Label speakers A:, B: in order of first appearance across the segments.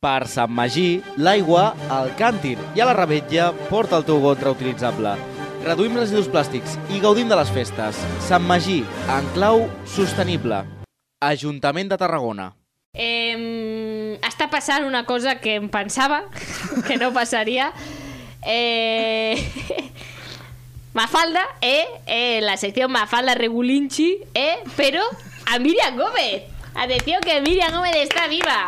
A: Per Sant Magí, l'aigua al càntir i a la rebetlla porta el teu got reutilitzable. Reduïm residus plàstics i gaudim de les festes. Sant Magí, en clau sostenible. Ajuntament de Tarragona.
B: Eh, està passant una cosa que em pensava que no passaria. Eh, Mafalda, eh, eh, la sección Mafalda Regulinchi, eh, pero a Miriam Gómez. Atención que Miriam Gómez está viva.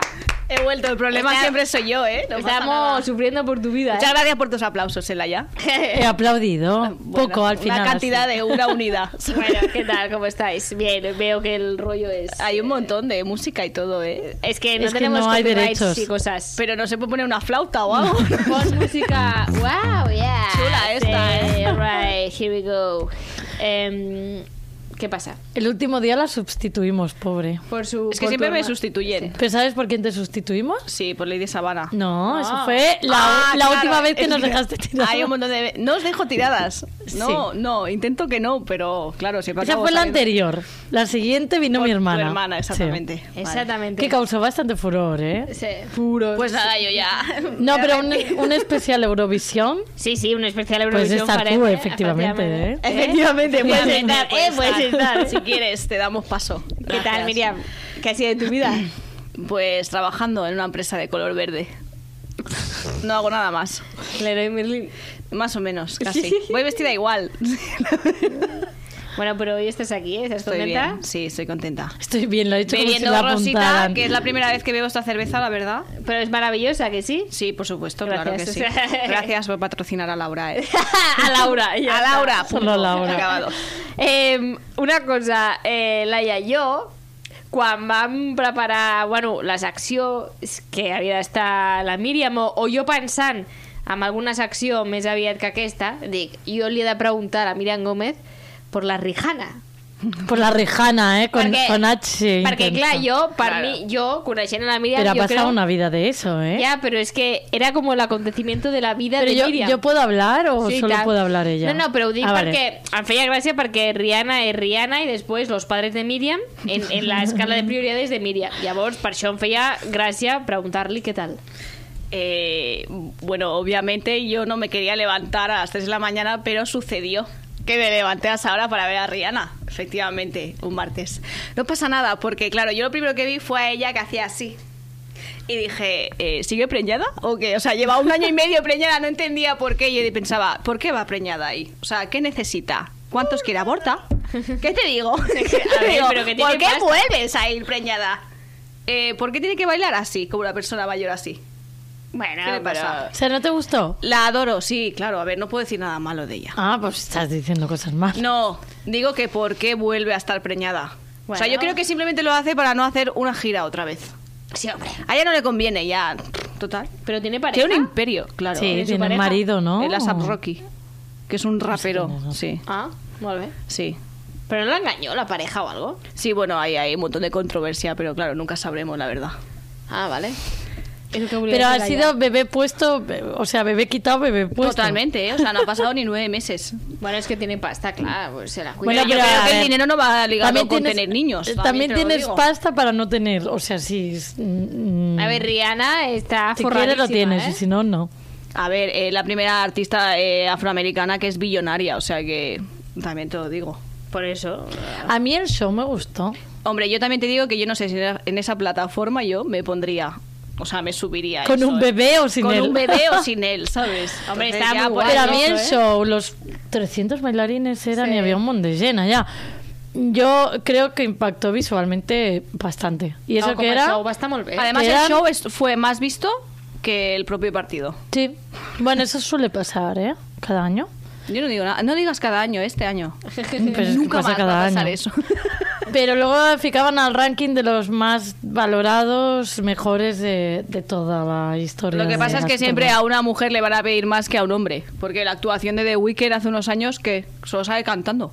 C: He vuelto, el problema
B: Está-
C: siempre soy yo, ¿eh? No pasa nada.
B: Estamos sufriendo por tu vida.
C: Muchas gracias por tus aplausos, Elaya.
B: ¿eh?
D: He aplaudido un
C: Ah, Bueno,
D: ¿eh? poco al final.
C: Una cantidad
D: así.
C: de una unidad.
B: Bueno, ¿qué tal? ¿Cómo estáis? Bien, veo que el rollo es...
C: Hay un montón de música y todo, ¿eh?
B: Es que no
D: Es que
B: tenemos
D: no hay
B: copyrights
D: derechos.
B: y cosas.
C: Pero no se puede poner una flauta o algo.
B: Pon música. ¡Wow! Yeah.
C: Chula esta, ¿eh?
B: Right, here we go. Em, ¿Qué pasa?
D: El último día la sustituimos, pobre.
B: Por su,
C: Es que
B: por
C: siempre
B: tu
C: me
B: herma-
C: sustituyen.
D: ¿Pero sabes por quién te sustituimos?
C: Sí, por Lady Sabana.
D: No,
B: No.
D: eso fue la,
C: Ah,
D: la
C: claro,
D: última vez que
C: es
D: nos dejaste tirar.
C: Hay un montón de... No os dejo tiradas. No,
D: Sí.
C: no, intento que no, pero claro, siempre
D: Esa
C: acabo
D: fue la
C: saliendo.
D: anterior. La siguiente vino
C: Por
D: mi hermana.
C: Tu hermana,
D: Sí.
C: exactamente. Vale.
B: Exactamente.
D: Que causó bastante furor, ¿eh?
B: Sí.
C: Pues nada, yo ya...
D: No, pero un, un especial Eurovisión.
B: Sí, sí, un especial
D: Pues
B: Eurovisión
D: está
B: parece,
D: tú, efectivamente,
B: efectivamente.
C: ¿Eh? Efectivamente, puedes
B: Efectivamente,
C: entrar,
B: eh, puedes entrar.
C: Si quieres, te damos paso.
B: ¿Qué tal,
C: Gracias.
B: Miriam? ¿Qué ha sido de tu vida?
C: Pues trabajando en una empresa de color verde. No hago nada más.
B: Leroy Merlin.
C: Más o menos, casi. Voy vestida igual.
B: Bueno, pero hoy estás aquí, ¿eh? ¿Estás
C: Estoy
B: contenta?
C: bien. Sí, estoy contenta.
D: Estoy bien, lo he hecho como si
C: Bebiendo
D: la
C: Rosita,
D: apuntaran.
C: que es la primera vez que bebo esta cerveza, la verdad.
B: Pero es maravillosa, ¿que sí?
C: Sí, por supuesto,
B: Gracias.
C: claro que sí. Gracias por patrocinar a Laura. eh.
B: a Laura. ya
C: A
B: está.
C: Laura. punto.
D: Solo a Laura.
C: Acabado.
B: Eh, una cosa, eh, Laia, jo, quan vam preparar bueno, les accions que havia d'estar la Míriam o, o jo pensant amb alguna secció més aviat que aquesta, dic, jo li he de preguntar a la Míriam Gómez per la Rihanna.
D: Por la rejana, ¿eh? Con,
B: Perquè-
D: con H.
B: Perquè,
D: intenso.
B: clar, jo, per
C: Claro.
B: mi, jo, coneixent a la Míriam,
D: Pero ha
B: jo
D: pasado
B: creo...
D: una vida de eso, ¿eh?
B: Ya, pero es que era como el acontecimiento de la vida
D: Pero
B: de
D: yo,
B: Míriam.
D: yo puedo hablar o
B: Sí,
D: solo
B: tal.
D: puedo hablar ella.
B: No, no, pero ho dic
D: Ah, vale.
B: perquè em feia gràcia perquè Rihanna és Rihanna i després los padres de Míriam en, en la escala de prioritats de Míriam. Llavors, per això em feia gràcia preguntar-li què tal.
C: Eh, bueno, obviamente yo no me quería levantar a las 3 de la mañana, pero sucedió que me levanté a esa hora para ver a Rihanna, efectivamente, un martes. No pasa nada, porque claro, yo lo primero que vi fue a ella que hacía así. Y dije, eh, ¿sigue preñada? ¿O qué? O sea, lleva un año y medio preñada, no entendía por qué. Y Yo pensaba, ¿por qué va preñada ahí? O sea, ¿qué necesita? ¿Cuántos quiere aborta? ¿Qué te digo?
B: ver,
C: Digo,
B: pero que tiene
C: ¿Por qué
B: pasta".
C: vuelves a ir preñada? Eh, ¿Por qué tiene que bailar así, como una persona mayor así?
B: Bueno,
C: ¿Qué le pasa?
D: O sea, ¿no te gustó?
C: La adoro, sí, claro. A ver, no puedo decir nada malo de ella.
D: Ah, pues estás diciendo cosas más.
C: No, digo que por qué vuelve a estar preñada. O
B: Bueno.
C: sea, yo creo que simplemente lo hace para no hacer una gira otra vez.
B: Pero... Sí, hombre.
C: A ella no le conviene, ya. Total.
B: Pero tiene pareja.
C: Tiene un imperio, claro.
D: sí,
B: ¿tiene su
D: tiene
B: pareja?
D: marido, ¿no?
C: El Asap Rocky, que es un rapero.
D: no sé.
C: Sí,
B: Ah, molt bé.
C: sí.
B: Però no l'engañó la pareja o algo?
C: Sí, bueno, ahí hay un montón de controversia, pero claro, nunca sabremos la verdad.
B: Ah, vale. És el que volia
D: Pero ha
B: dir,
D: sido
B: Laia.
D: bebé puesto, be- o sea, bebé quitado, bebé puesto.
C: Totalmente, ¿eh? o sea, no ha pasado ni nueve meses.
B: Bueno, es que tiene pasta, claro, pues se la cuida.
D: Bueno,
C: Bueno, yo
D: pero,
C: creo
D: a
C: que el
D: ver,
C: dinero no va ligado con
D: tienes-
C: tener niños.
D: eh,
C: también
D: También
C: te lo
D: tienes
C: digo.
D: pasta para no tener, o sea, si... mm,
B: A ver, Rihanna está
D: si
B: forradísima,
D: quieres lo tienes
B: eh?
D: y si no, no.
C: A ver, eh, la primera artista eh, afroamericana que es billonaria, o sea que también te lo digo.
B: Por eso...
D: A mí el show me gustó.
C: Hombre, yo también te digo que yo no sé si en esa- en esa plataforma yo me pondría, o sea, me subiría.
D: Con
C: eso,
D: un
C: eh.
D: bebé o sin
C: Con
D: él.
C: un bebé o sin él, ¿sabes?
B: Hombre,
C: Entonces
B: está
C: ya,
B: muy
C: pues,
D: Pero a
B: guay,
D: mí el
B: ¿eh?
D: show, los 300 bailarines eran
B: Sí.
D: y había un montón de llena ya. Yo creo que impactó visualmente bastante. Y eso
B: no, com
D: que
B: el
D: era...
B: show va estar molt bé.
C: Además,
D: Eran-
C: el show es- fue más visto que el propio partido.
D: Sí. Bueno, eso suele pasar, ¿eh? Cada año.
C: Yo no digo nada, no digas cada año, este año.
D: Pero es que
C: Nunca
D: Pues pasa
C: más
D: cada
C: va a pasar
D: año.
C: eso.
D: Pero luego ficaban al ranking de los más valorados, mejores de, de toda la historia.
C: Lo que
D: de
C: pasa es
D: las
C: que siempre
D: torres.
C: a una mujer le van a pedir más que a un hombre, porque la actuación de The Weeknd hace unos años que solo sale cantando.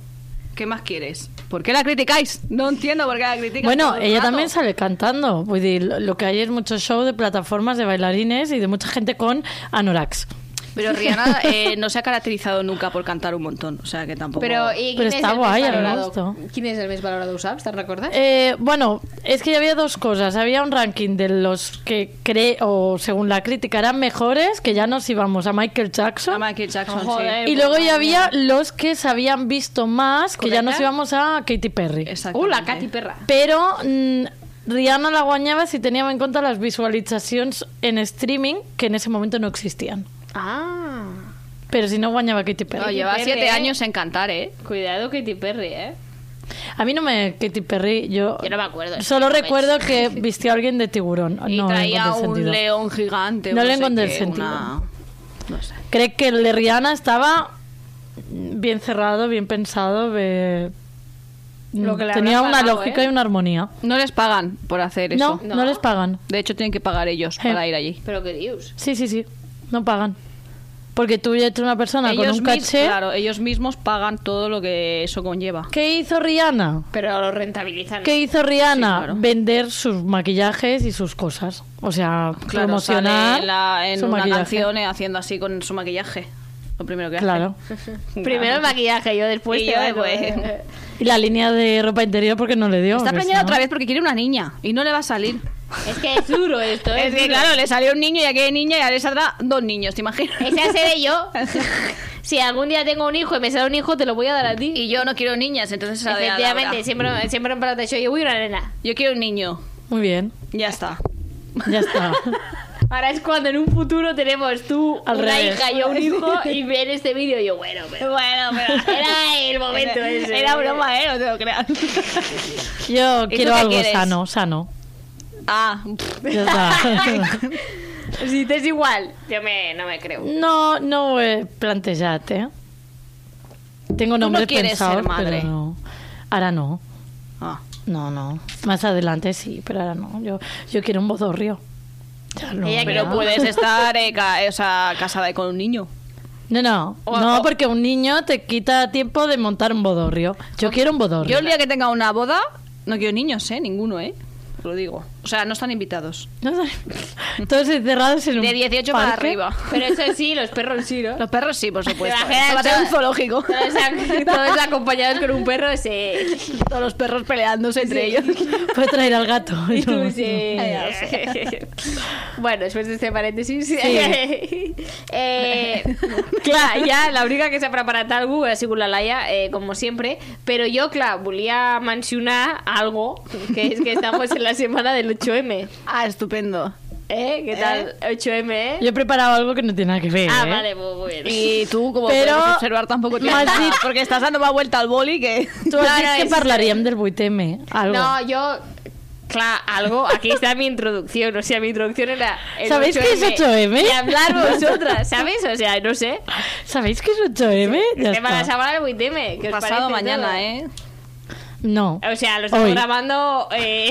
C: ¿Qué más quieres? ¿Por qué la criticáis? No entiendo por qué la criticáis.
D: Bueno,
C: todo el
D: ella
C: rato.
D: también sale cantando. Pues, Vull dir, lo- lo que hay es mucho show de plataformas de bailarines y de mucha gente con anorax.
C: Pero Rihanna eh, no se ha caracterizado nunca por cantar un montón, o sea que tampoco...
B: Pero, ¿y quién
D: Pero
B: es
D: está
B: el
D: guai, a
B: més
D: mi
B: valorado?
D: gusto.
B: ¿Quién es el més valorado, ho saps? Te'n recordes?
D: Eh, bueno, es que ya había dos cosas. Había un ranking de los que cree o según la crítica eran mejores, que ya nos íbamos a Michael
C: A
D: Jackson.
C: Michael Jackson,
B: Joder.
D: y luego ya había los que se habían visto más, que ya nos
B: Correcte.
D: íbamos a Katy Perry.
C: sí.
B: uh, la
C: Exactamente.
B: Katy Perra.
D: Pero mm, Rihanna la guañaba si teníamos en cuenta las visualizaciones en streaming, que en ese momento no existían.
B: Ah.
D: Pero si no, guañaba Katy Perry.
C: No, lleva
B: Perry,
C: siete
B: eh.
C: años en cantar, ¿eh?
B: Cuidado Katy Perry, ¿eh?
D: A mí no me... Katy Perry, yo...
B: Yo no me acuerdo.
D: Solo
B: No me-
D: recuerdo que vistió a alguien de tiburón.
C: Y
D: no,
C: traía
D: no
C: un
D: sentido.
C: león gigante.
D: No
C: o
D: le
C: sé
D: encontré
C: qué,
D: el sentido.
C: una- No sé.
D: Cree que el de Rihanna estaba bien cerrado, bien pensado, be-
B: Lo que le
D: tenía
B: habrán
D: una
B: pagado,
D: lógica
B: ¿eh?
D: y una armonía.
C: No les pagan por hacer
D: No,
C: eso.
D: no, les pagan.
C: De hecho, tienen que pagar ellos
D: Eh.
C: para ir allí.
B: Pero qué dios.
D: Sí, sí, sí, no pagan. Porque tú ya eres una persona con
C: mis-
D: un caché.
C: claro, ellos mismos pagan todo lo que eso conlleva.
D: ¿Qué hizo Rihanna?
B: Pero lo rentabilizan.
D: ¿Qué hizo Rihanna?
C: Sí, claro.
D: Vender sus maquillajes y sus cosas. O sea,
C: Claro,
D: promocionar
C: sale en, la- en
D: su
C: una
D: maquillaje.
C: canción eh, haciendo así con su maquillaje. Lo primero que
D: Claro.
C: hace.
B: Primero el maquillaje, yo después.
C: Y
B: te
C: yo
B: bailo.
C: después.
D: Y la línea de ropa interior porque no le dio.
C: Está
D: porque si
C: planeando
D: no-
C: otra vez porque quiere una niña y no le va a salir.
B: Es que es duro esto,
C: Es que,
B: duro.
C: claro, le salió un niño y aquí hay niña y ahora le saldrá dos niños, ¿te imaginas?
B: Esa seré yo. si algún día tengo un hijo y me sale un hijo, te lo voy a dar a ti.
C: Y yo no quiero niñas, entonces esa de a Laura.
B: Efectivamente, siempre, siempre en plata yo, yo voy a una nena.
C: Yo quiero un niño.
D: Muy bien,
C: Ya está.
D: ya está.
B: Ahora es cuando en un futuro tenemos tú
D: Al
B: una
D: revés.
B: hija y yo un hijo y ven este vídeo y yo, bueno, pero...
C: Bueno, pero...
B: Era el momento
C: era,
B: ese.
C: era broma, ¿eh? No te lo creas.
D: Yo
C: tú
D: quiero
C: qué
D: algo
C: quieres?
D: sano, sano.
C: ah, pff,
D: Ya está.
B: Si te es igual, ¿eh? Mm. yo me, no me creo.
D: No, no ho he plantejat, eh? Tengo
C: no
D: nombres
C: quieres
D: pensados,
C: ser madre.
D: pero no. Ahora no.
C: ah.
D: No, no. Más adelante sí, pero ahora no. Yo, yo quiero un bodorrio. Ya no,
B: Ella
C: Pero
B: Ya.
D: ¿verdad?
C: puedes estar eh, ca- eh, o sea, casada con un niño.
D: No, no.
B: O-
D: no,
B: o-
D: porque un niño te quita tiempo de montar un bodorrio. Yo quiero un bodorrio.
C: Yo el día que tenga una boda, no quiero niños, ¿eh? Ninguno, ¿eh? Os Lo digo. O sea, no están invitados.
D: No sé. Todos encerrados en un
C: De 18 para
D: parque.
C: arriba.
B: Pero eso sí, los perros sí, ¿no?
C: Los perros sí, por supuesto.
B: ¿Te imaginas
C: Se va a tener un
B: todo-
C: zoológico.
B: Todos, ac- todos acompañados con un perro, sí.
C: Todos los perros peleándose entre ellos.
D: Puedes traer al gato.
B: Y tú,
D: No,
B: sí. bueno, después de este paréntesis... eh, clar, ja la única que s'ha preparat algú ha sigut la Laia, eh, com sempre, però jo, clar, volia mencionar algo, que és que estamos en la semana del 8M.
C: Ah, estupendo.
B: Eh, què tal? 8M, eh?
D: Yo he preparado algo que no tiene nada que ver.
B: Ah,
D: ¿eh?
B: vale, muy muy bien.
C: Y tú, como
D: Pero-
C: puedes observar, tampoco tienes
D: Más
C: nada,
D: di-
C: Porque estás dando más vuelta al boli que...
D: Tú has
B: No,
D: dicho
B: no,
D: que
B: es-
D: parlarían del 8M. Algo.
B: No, yo... Claro, algo. Aquí está mi introducción. O sea, mi introducción era. el
D: ¿Sabéis qué es 8M?
B: Y hablar vosotras, ¿sabéis? O sea, no sé.
D: ¿Sabéis qué es 8M? Ya
B: Tema la
D: está.
B: semana del 8M. ¿qué os
C: Pasado
B: parece
C: mañana,
B: todo?
C: ¿eh?
D: No.
B: O sea, lo estamos
D: Hoy.
B: grabando. Eh...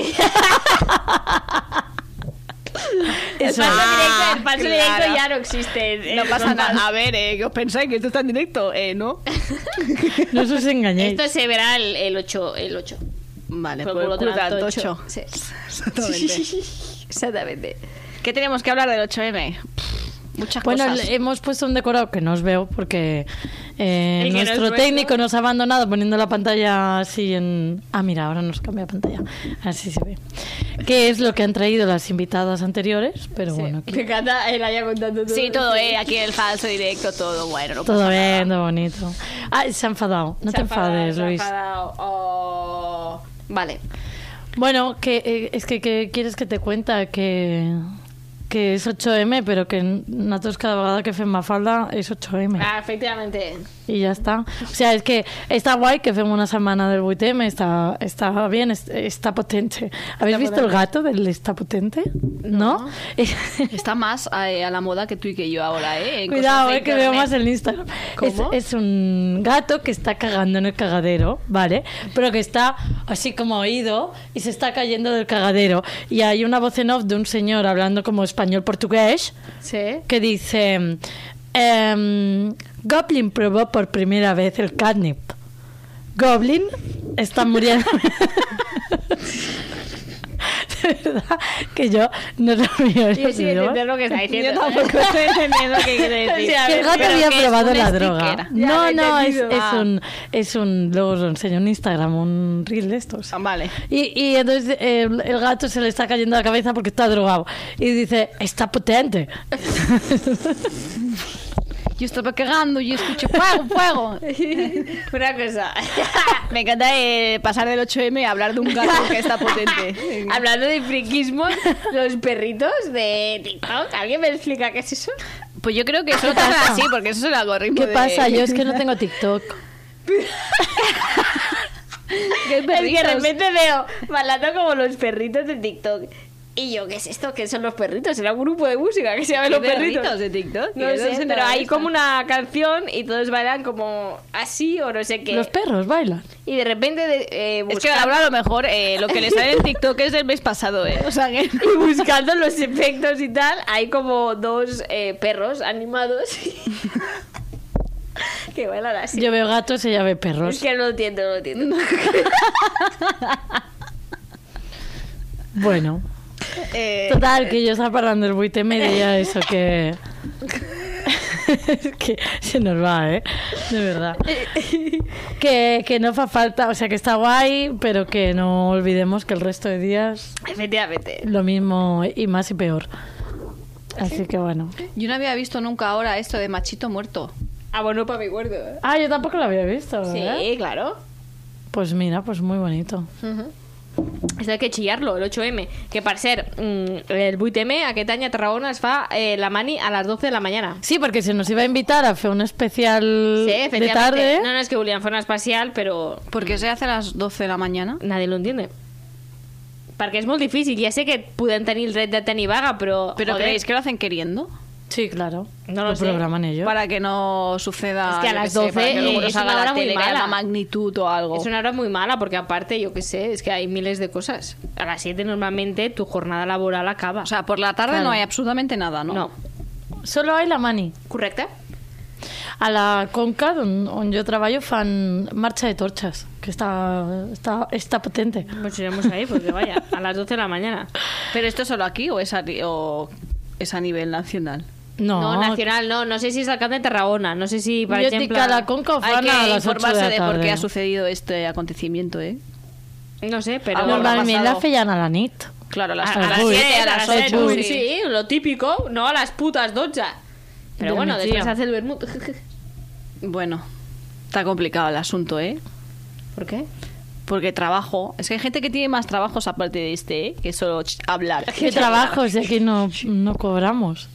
B: el
D: Eso.
B: paso,
C: Ah,
B: directo, el paso
C: claro.
B: directo ya no existe.
C: No
B: Eh,
C: pasa
B: no
C: nada.
D: Ah,
C: A ver, ¿eh? ¿Qué os pensáis? ¿Que esto está en directo? Eh, ¿no?
D: No os engañéis.
B: Esto se verá el, el 8. El 8.
C: Vale,
B: Por
C: por
B: culo
C: el culo
B: tanto
C: tanto
B: ocho.
C: ocho.
B: Sí.
C: Exactamente.
B: Exactamente.
C: ¿Qué tenemos que hablar del 8M? Pff, Muchas
D: Bueno,
C: cosas.
D: le- hemos puesto un decorado que no os veo porque eh,
B: El que no es
D: nuestro
B: nuestro.
D: técnico nos ha abandonado poniendo la pantalla así en... Ah, mira, ahora nos cambia pantalla. Así se ve. Que es lo que han traído las invitadas anteriores, pero bueno, aquí
B: Me encanta el haya contando todo.
C: Sí, todo, ¿eh? Aquí el falso directo, todo bueno. no
D: todo
C: pasa nada.
D: bien, todo bonito. Ah, se ha enfadado.
B: pues
D: No
B: Se
D: te
B: ha enfadado,
D: enfades,
B: se ha
D: Luis.
B: enfadado. Oh. Vale.
D: Bueno, que eh, es que, que quieres que te cuenta que que és 8M, però que nosaltres cada vegada que fem mafalda és 8M.
B: Ah, efectivamente.
D: Y ya está. O sea, es que está guay que hacemos una semana del 8M, está, está bien, es- está potente. ¿Habéis visto el gato del está potente? ¿No?
C: Está más eh, a la moda que tú y que yo ahora, ¿eh? En
D: Cuidado,
C: cosas de
D: eh, que veo
C: internet.
D: más el Instagram. Es,
B: ¿Cómo?
D: es un gato que está cagando en el cagadero, ¿vale? Pero que está así como oído y se está cayendo del cagadero. Y hay una voz en off de un señor hablando como español-portugués.
B: Sí.
D: que dice em, Goblin probó por primera vez el catnip. Goblin está muriendo. de verdad que yo no sabía.
B: Yo sin entender lo que está diciendo. Yo tampoco estoy entendiendo qué quiere
C: decir.
B: Sí, a
D: Que
B: ver,
D: el gato
B: pero
D: había
B: que es
D: probado
B: un
D: la
B: sticker.
D: droga.
B: Ya lo
D: No,
B: he
D: no, es,
B: entendido.
D: es
B: Ah.
D: un, es un. Luego os lo enseño en Instagram, un reel de estos.
C: Ah, Vale.
D: Y, y entonces eh, el gato se le está cayendo la cabeza porque está drogado. Y dice, está potente.
C: Yo estaba cagando, yo escucho fuego, fuego.
B: Una cosa.
C: Me encanta eh, pasar del 8M a hablar de un gato que está potente.
B: Hablando de friquismo, los perritos de TikTok. ¿Alguien me explica qué es eso?
C: Pues yo creo que eso pasa así, porque eso es el algoritmo.
D: ¿Qué
C: de-
D: pasa? Yo es que no tengo TikTok.
C: ¿Qué
B: Es que de
C: perritos?
B: repente veo bailando como los perritos de TikTok. Y yo, ¿qué es esto? ¿Qué son los perritos? Era un grupo de música que se llama
C: ¿Qué
B: Los
C: perritos
B: Perritos.
C: de TikTok?
B: No
C: ¿De
B: sé,
C: dónde se
B: pero
C: la
B: hay
C: esta?
B: como una canción y todos bailan como así o no sé qué.
D: Los perros bailan.
B: y de repente de- eh,
C: Es que
B: buscando-
C: ahora a lo mejor eh, lo que le sale en TikTok es del mes pasado, ¿eh? O sea que...
B: y buscando los efectos y tal, hay como dos eh, perros animados que bailan así.
D: Yo veo gatos, ella ve
B: Es
D: perros.
B: que no lo entiendo, no lo entiendo.
D: Bueno.
C: eh,
D: Total, que yo estaba parlant del 8 m i deia eso que... que se nos va, ¿eh? De verdad. Que, que no fa falta, o sea, que está guay, pero que no olvidemos que el resto de días
B: Efectivamente.
D: lo mismo y más y peor. Así que bueno.
C: Yo no había visto nunca ahora esto de machito muerto.
B: Ah, bueno, para mi gordo.
D: Ah, yo tampoco lo había visto,
B: Sí,
D: ¿eh?
B: claro.
D: Pues mira, pues muy bonito.
B: Això hay que chillarlo, el 8M. Que, per cert, mm, el 8M aquest any a Tarragona es fa eh, la mani a las 12 de la mañana.
D: Sí, porque se nos iba a invitar a hacer un especial
B: Sí,
D: Mm, de
B: efectivamente.
D: tarde. ¿eh?
B: No, no, es que volían fer un especial, pero
C: ¿Por qué se hace a las 12 de la mañana?
B: nadie lo entiende. Perquè és molt difícil. Ja sé que podem tenir el dret de tenir vaga, però...
C: ¿Pero
B: joder,
C: creéis que lo hacen queriendo?
D: Sí, claro.
B: No lo sé.
D: programan ellos.
C: Para que no suceda...
B: Es que a
C: yo
B: las
C: sé,
B: 12
C: para que luego
B: es
C: nos
B: una
C: haga la
B: hora muy
C: tele, que haya
B: mala.
C: una magnitud o algo.
B: Es una hora muy mala porque aparte, yo qué sé, es que hay miles de cosas. A las 7 normalmente tu jornada laboral acaba.
C: O sea, por la tarde
D: Claro.
C: no hay absolutamente nada, ¿no?
B: no.
D: Solo hay la mani.
B: Correcte?
D: A la Conca, on, on jo treballo, fan marxa de torxes, que està, està, està potente.
B: Pues iremos ahí, porque vaya, a las 12 de la mañana.
C: ¿Pero esto solo aquí o es a, o es a nivel nacional?
D: No,
B: No, nacional, no. No sé si es el Camp de Tarragona. No sé si, per
D: jo et dic
B: exemple...
D: que a la Conca ho
C: Hay
D: fan a
C: que
D: les 8 de la
C: informarse de,
D: tarda.
C: por qué ha sucedido este acontecimiento, ¿eh?
B: No sé, pero...
C: Ah, no,
B: a,
C: va-
D: Normalment la
C: pasado.
D: feien a la nit.
C: Claro,
B: a
C: a las,
D: las
B: las
D: vuit.
B: 7, a
C: a
B: las
C: las
D: set,
B: 7.
D: vuit.
B: Sí.
C: sí.
B: lo típico. No, a las putas 12. Pero
D: Dios
B: bueno,
D: mío.
B: después hace el vermut.
C: Bueno, está complicado el asunto, ¿eh?
B: ¿Por qué?
C: Porque trabajo. Es que hay gente que tiene más trabajos aparte de este, ¿eh? Que solo ch- hablar.
D: Que trabajos, eh, que no, no cobramos.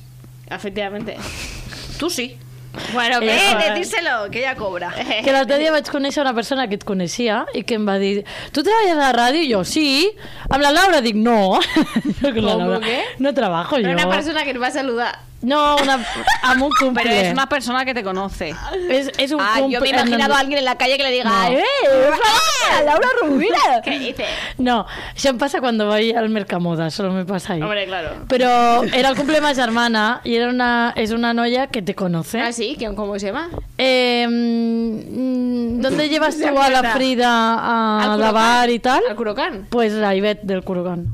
B: Efectivamente.
C: Tú sí.
B: Bueno,
D: Eh,
B: pero...
C: díselo, que ella cobra.
D: Que l'altre dia vaig conèixer una persona que et coneixia i que em va dir, tu treballes a la ràdio? I jo, sí. Amb la Laura? Dic, no. Jo con la
B: ¿Cómo
D: Laura,
B: qué?
D: No trabajo
B: Pero
D: jo.
B: una persona que nos va a saludar.
D: No, una... amb un cumple.
C: Pero es una persona que te conoce.
D: és, és un
C: Ah,
D: cumple.
C: yo me he imaginado a alguien en la calle que le diga,
D: No.
C: ¡eh! hola, ¡Laura Rubira!
B: ¿Qué dices?
D: No, això em passa quan vaig al Mercamoda, solo me passa ahí.
B: Hombre, claro.
D: Pero era el cumple de ma germana y era una, es una noia que te conoce.
B: Ah, sí, ¿Quién- ¿cómo se llama?
D: Eh, mm, ¿Dónde llevas
B: Se
D: tú a la
B: acuerda.
D: Frida a
B: Al
D: lavar
B: Curocán.
D: Ah, y tal?
B: Al Curocán.
D: Pues la Ivette del Curugán.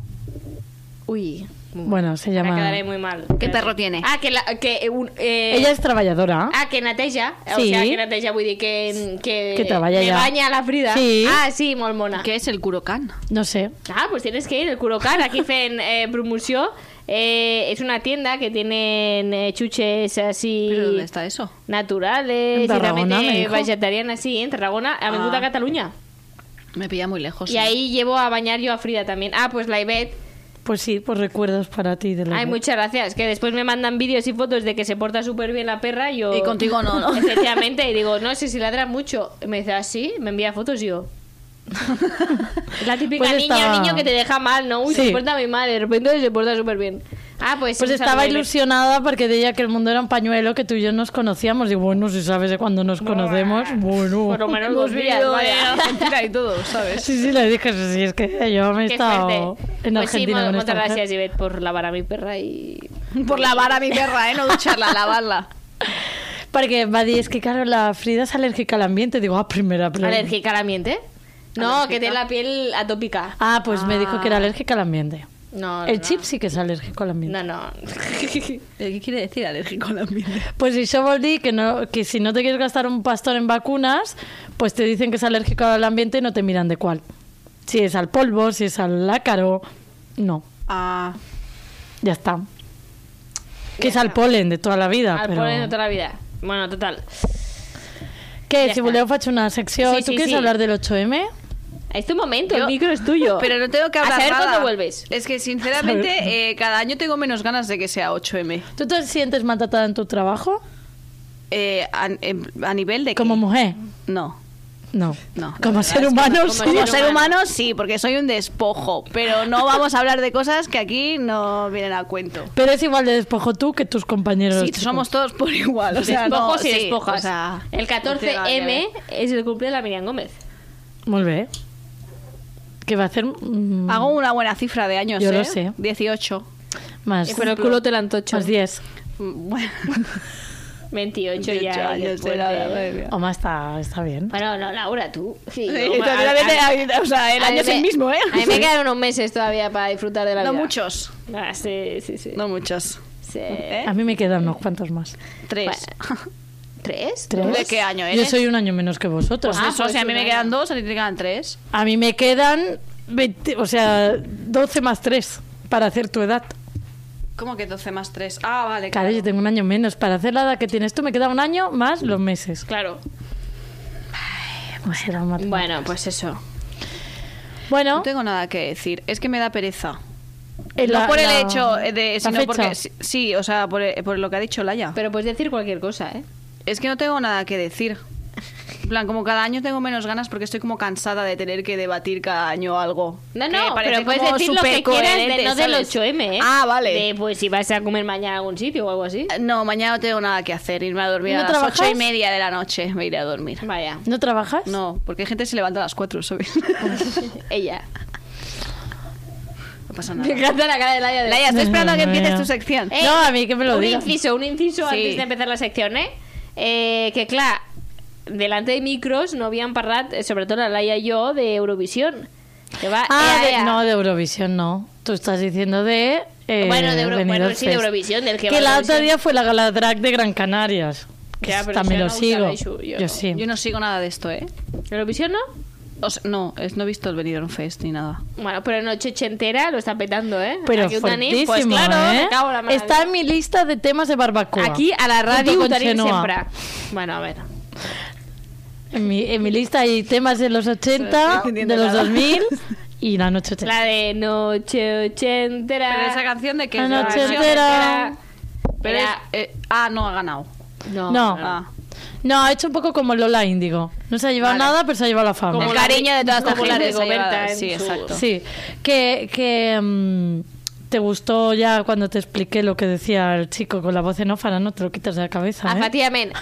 B: Uy.
D: Bueno, se
B: Me
D: llama...
B: quedaré muy mal.
C: ¿Qué perro tiene?
B: Ah, que, la, que eh, un, eh,
D: Ella es treballadora.
B: Ah, que neteja. O
D: Sí.
B: sea, que neteja vull dir que... Que,
D: Que treballa
B: me
D: ja.
B: baña la Frida.
D: Sí.
B: Ah, sí, molt mona.
C: ¿Qué es el curocán?
D: No sé.
B: Ah, pues tienes que ir al Curocan, aquí hacen eh, promoción. Eh, es una tienda que tienen eh, chuches así
C: ¿Pero dónde está eso?
B: naturales
D: En Tarragona,
B: y
D: me
B: también eh,
D: dijo.
B: vegetarianas, sí, en Tarragona, Avenida
C: Ah.
B: Cataluña.
C: Me pilla muy lejos.
B: Y
C: ¿eh?
B: ahí llevo a bañar yo a Frida también. Ah, pues la Ivette.
D: Pues sí, pues recuerdos para ti de la
B: Ay,
D: Ivette.
B: muchas gracias. Que después me mandan vídeos y fotos de que se porta súper bien la perra. y Yo...
C: Y contigo no, ¿no?
B: Efectivamente. Y digo, no sé si ladra mucho. Y me dice, ah, sí, me envía fotos y yo. La típica
D: Pues
B: niña
D: estaba-
B: o niño que te deja mal, ¿no? Uy,
D: Sí.
B: se porta muy mal. Y de repente se porta súper bien. Ah, pues.
D: Pues
B: un
D: estaba
B: saludo, Ivette.
D: ilusionada porque decía que el mundo era un pañuelo, que tú y yo nos conocíamos. Y bueno, si sabes de cuándo nos conocemos, bueno.
B: Por lo menos dos días,
C: Yo de
B: vaya.
C: Argentina y todo, ¿sabes?
D: Sí, sí, le dije, sí, sí, es que yo me he
B: Qué
D: estado
B: fuerte.
D: en
B: pues sí,
D: Argentina
B: mo-
D: con esta
B: muchas
D: mujer.
B: gracias, Ivette, por lavar a mi perra y.
C: Por lavar a mi perra, ¿eh? No ducharla, lavarla.
D: Perquè va dir, és que claro, la Frida és al·lèrgica a l'ambient. Digo, ah, primera plena.
B: ¿Alérgica al ambiente? No, que tiene la piel atópica.
D: Ah, pues me dijo que era alérgica al ambiente.
B: Ah. No,
D: El
B: no.
D: chip sí que és alèrgic a l'ambient.
B: No, no.
C: ¿Qué quiere decir alérgico al ambiente?
D: Pues això vol dir que, no, que si no te quieres gastar un pastón en vacunas, pues te dicen que es alérgico al ambiente y no te miran de cuál. Si es al polvo, si es al ácaro, no,
C: Ah,
D: ya está. Que es al polen de toda la vida.
B: Al
D: pero...
B: pobre de toda la vida. Bueno, total.
D: ¿Qué?
B: Ya
D: si
B: está.
D: voleu faig una secció.
B: Sí,
D: ¿Tú
B: sí,
D: quieres
B: sí.
D: hablar del 8M?
B: Este Es tu momento,
C: Yo-
B: el micro es tuyo.
C: Pero no tengo que hablar
B: A saber
C: nada.
B: cuándo vuelves.
C: Es que, sinceramente, eh, cada año tengo menos ganas de que sea 8M.
D: ¿Tú te sientes maltratada en tu trabajo?
C: Eh, a, en- a nivel de...
D: ¿Como
C: que-
D: mujer?
C: No.
D: No.
C: No, la verdad
D: como
C: es
D: ser
C: que
D: humano, sí.
C: Como
B: ser
C: ser
B: humano.
C: humano, sí, porque soy un despojo. Pero no vamos a hablar de cosas que aquí no vienen a cuento.
D: Pero es igual de despojo tú que tus compañeros.
C: Sí,
D: chicos.
C: somos todos por igual. O sea, no,
B: Despojos y
C: sí,
B: despojas.
C: o sea,
B: el
C: no tiene nada
B: 14M es el cumple de la Miriam Gómez.
D: Molt bé. ¿eh? Que va a hacer...
C: que
D: mm,
C: ver. Hago una buena cifra de años,
D: Yo
C: ¿eh?
D: lo sé.
C: 18.
D: Más,
B: Pero el culo te la antocho.
D: más 10.
C: Mm, Bueno,
B: 28
C: 18
B: ya. y
C: años de Oh,
B: después
C: la
B: de-
C: madre mía.
D: Home, està, està bé.
B: Bueno, no, Laura, tú. Sí,
C: Sí,
B: no, a-
C: totalmente,
B: a-
C: o sea, el
B: a mí
C: año es el
B: me-
C: mismo, ¿eh?
B: A mí me
C: Sí.
B: quedan unos meses todavía para disfrutar de la
C: No
B: vida.
C: muchos.
B: Ah, sí, sí, sí.
C: No ¿Eh? muchos.
B: Sí.
D: A mí me quedan unos cuantos más.
C: Tres.
B: Ah, ¿Tres?
D: ¿Tres?
C: ¿De qué año
D: Yo
C: eres?
D: soy un año menos que vosotros.
B: Ah,
C: Eso, o sea, a mí
B: pues
C: me
B: un
C: quedan dos, a ti te quedan tres.
D: A mí me quedan 20, o sea, 12 más 3 para hacer tu edad.
C: ¿Cómo que 12 más 3? Ah, vale.
D: Claro, yo tengo un año menos. Para hacer la edad que tienes tú me queda un año más los meses.
B: Claro.
D: No será matemática.
B: Eh, pues Bueno, pues eso.
D: Bueno,
C: No tengo nada que decir. Es que me da pereza.
D: en Eh, la-
C: no por
D: la-
C: el hecho
B: eh,
C: de...
D: la
C: Sino
D: fecha.
C: porque... sí- Sí, o sea, por, eh, por lo que ha dicho Laia.
B: Pero puedes decir cualquier cosa, ¿eh?
C: Es que no tengo nada que decir. En plan, como cada año tengo menos ganas porque estoy como cansada de tener que debatir cada año algo.
B: No,
C: que
B: no,
C: parece
B: pero puedes
C: como
B: decir lo que quieras, de-
C: supercoherente,
B: no del
C: ¿sabes?
B: 8M, ¿eh?
C: Ah, vale.
B: De, pues si vas a comer mañana a algún sitio o algo así.
C: No, mañana no tengo nada que hacer. Irme a dormir
D: ¿No
C: a las ocho
D: trabajas?
C: y media de la noche. Me iré a dormir.
B: Vaya.
D: ¿No trabajas?
C: No, porque hay gente que se levanta a las cuatro, ¿sabes?
B: Ella.
C: No pasa
B: Me
C: nada.
B: encanta la cara de Laia. de-
C: Laia, estoy
D: Dios
C: esperando a que
D: mío.
C: empieces tu sección.
B: Eh,
D: No, a mí que me lo
B: un
D: diga.
B: inciso, un inciso
C: Sí.
B: antes de empezar la sección, eh? Eh, que clar, delante de micros no havíem parlat, eh, sobretot la Laia i jo, d'Eurovisió. Que va, eh,
D: Ah,
B: ea,
D: de-
B: ea.
D: no, de Eurovisión no. Tú estás diciendo de... eh,
B: Bueno, de Euro-
D: Benidorm
B: bueno, sí, de
D: Fest.
B: Eurovisión, del que va
D: Que
B: a
D: la otra
B: Eurovisión.
D: día fue la gala drag de Gran Canarias. Que
B: Ya,
D: esta
B: pero
D: me
B: yo
D: lo
B: no
D: sigo.
B: usaba eso, yo
D: yo
B: no.
D: sí.
C: Yo no sigo nada de esto, ¿eh?
B: ¿Eurovisión no?
C: O sea, no, es- no he visto el Benidorm Fest ni nada.
B: Bueno, pero noche ochentera lo está petando, ¿eh?
D: Pero
B: Aquí un danís,
D: fortísimo,
B: pues claro,
D: ¿eh?
B: me cago en la maravilla.
D: Está en mi lista de temas de barbacoa.
B: Aquí a la radio
D: Junto con
B: Utanís
D: Chenoa.
B: siempre. Bueno, a ver.
D: En mi, en mi lista hay temas de los 80, de
C: entendiendo
D: los
C: nada.
D: 2000 y la noche ochenta.
B: La de noche ochentera.
C: Pero esa canción de que
D: La
C: es la
D: noche
C: versión-
D: Ah, entera.
C: Pero es-
B: Era-
C: eh, ah, no ha ganado.
B: No.
D: No.
C: Ah.
D: No, ha hecho un poco como Lola Índigo. No se ha llevado
C: Vale.
D: nada, pero se ha llevado la fama.
B: Como
C: el
B: la-
C: cariño de toda esta
B: como la
C: gente.
B: de
C: se ha llevado-
B: Goberta en
C: sí,
B: su-
C: exacto.
D: Sí, que, que mm, te gustó ya cuando te expliqué lo que decía el chico con la voz en ófana, no te lo quitas de la cabeza. ¿eh?
B: Efectivamente.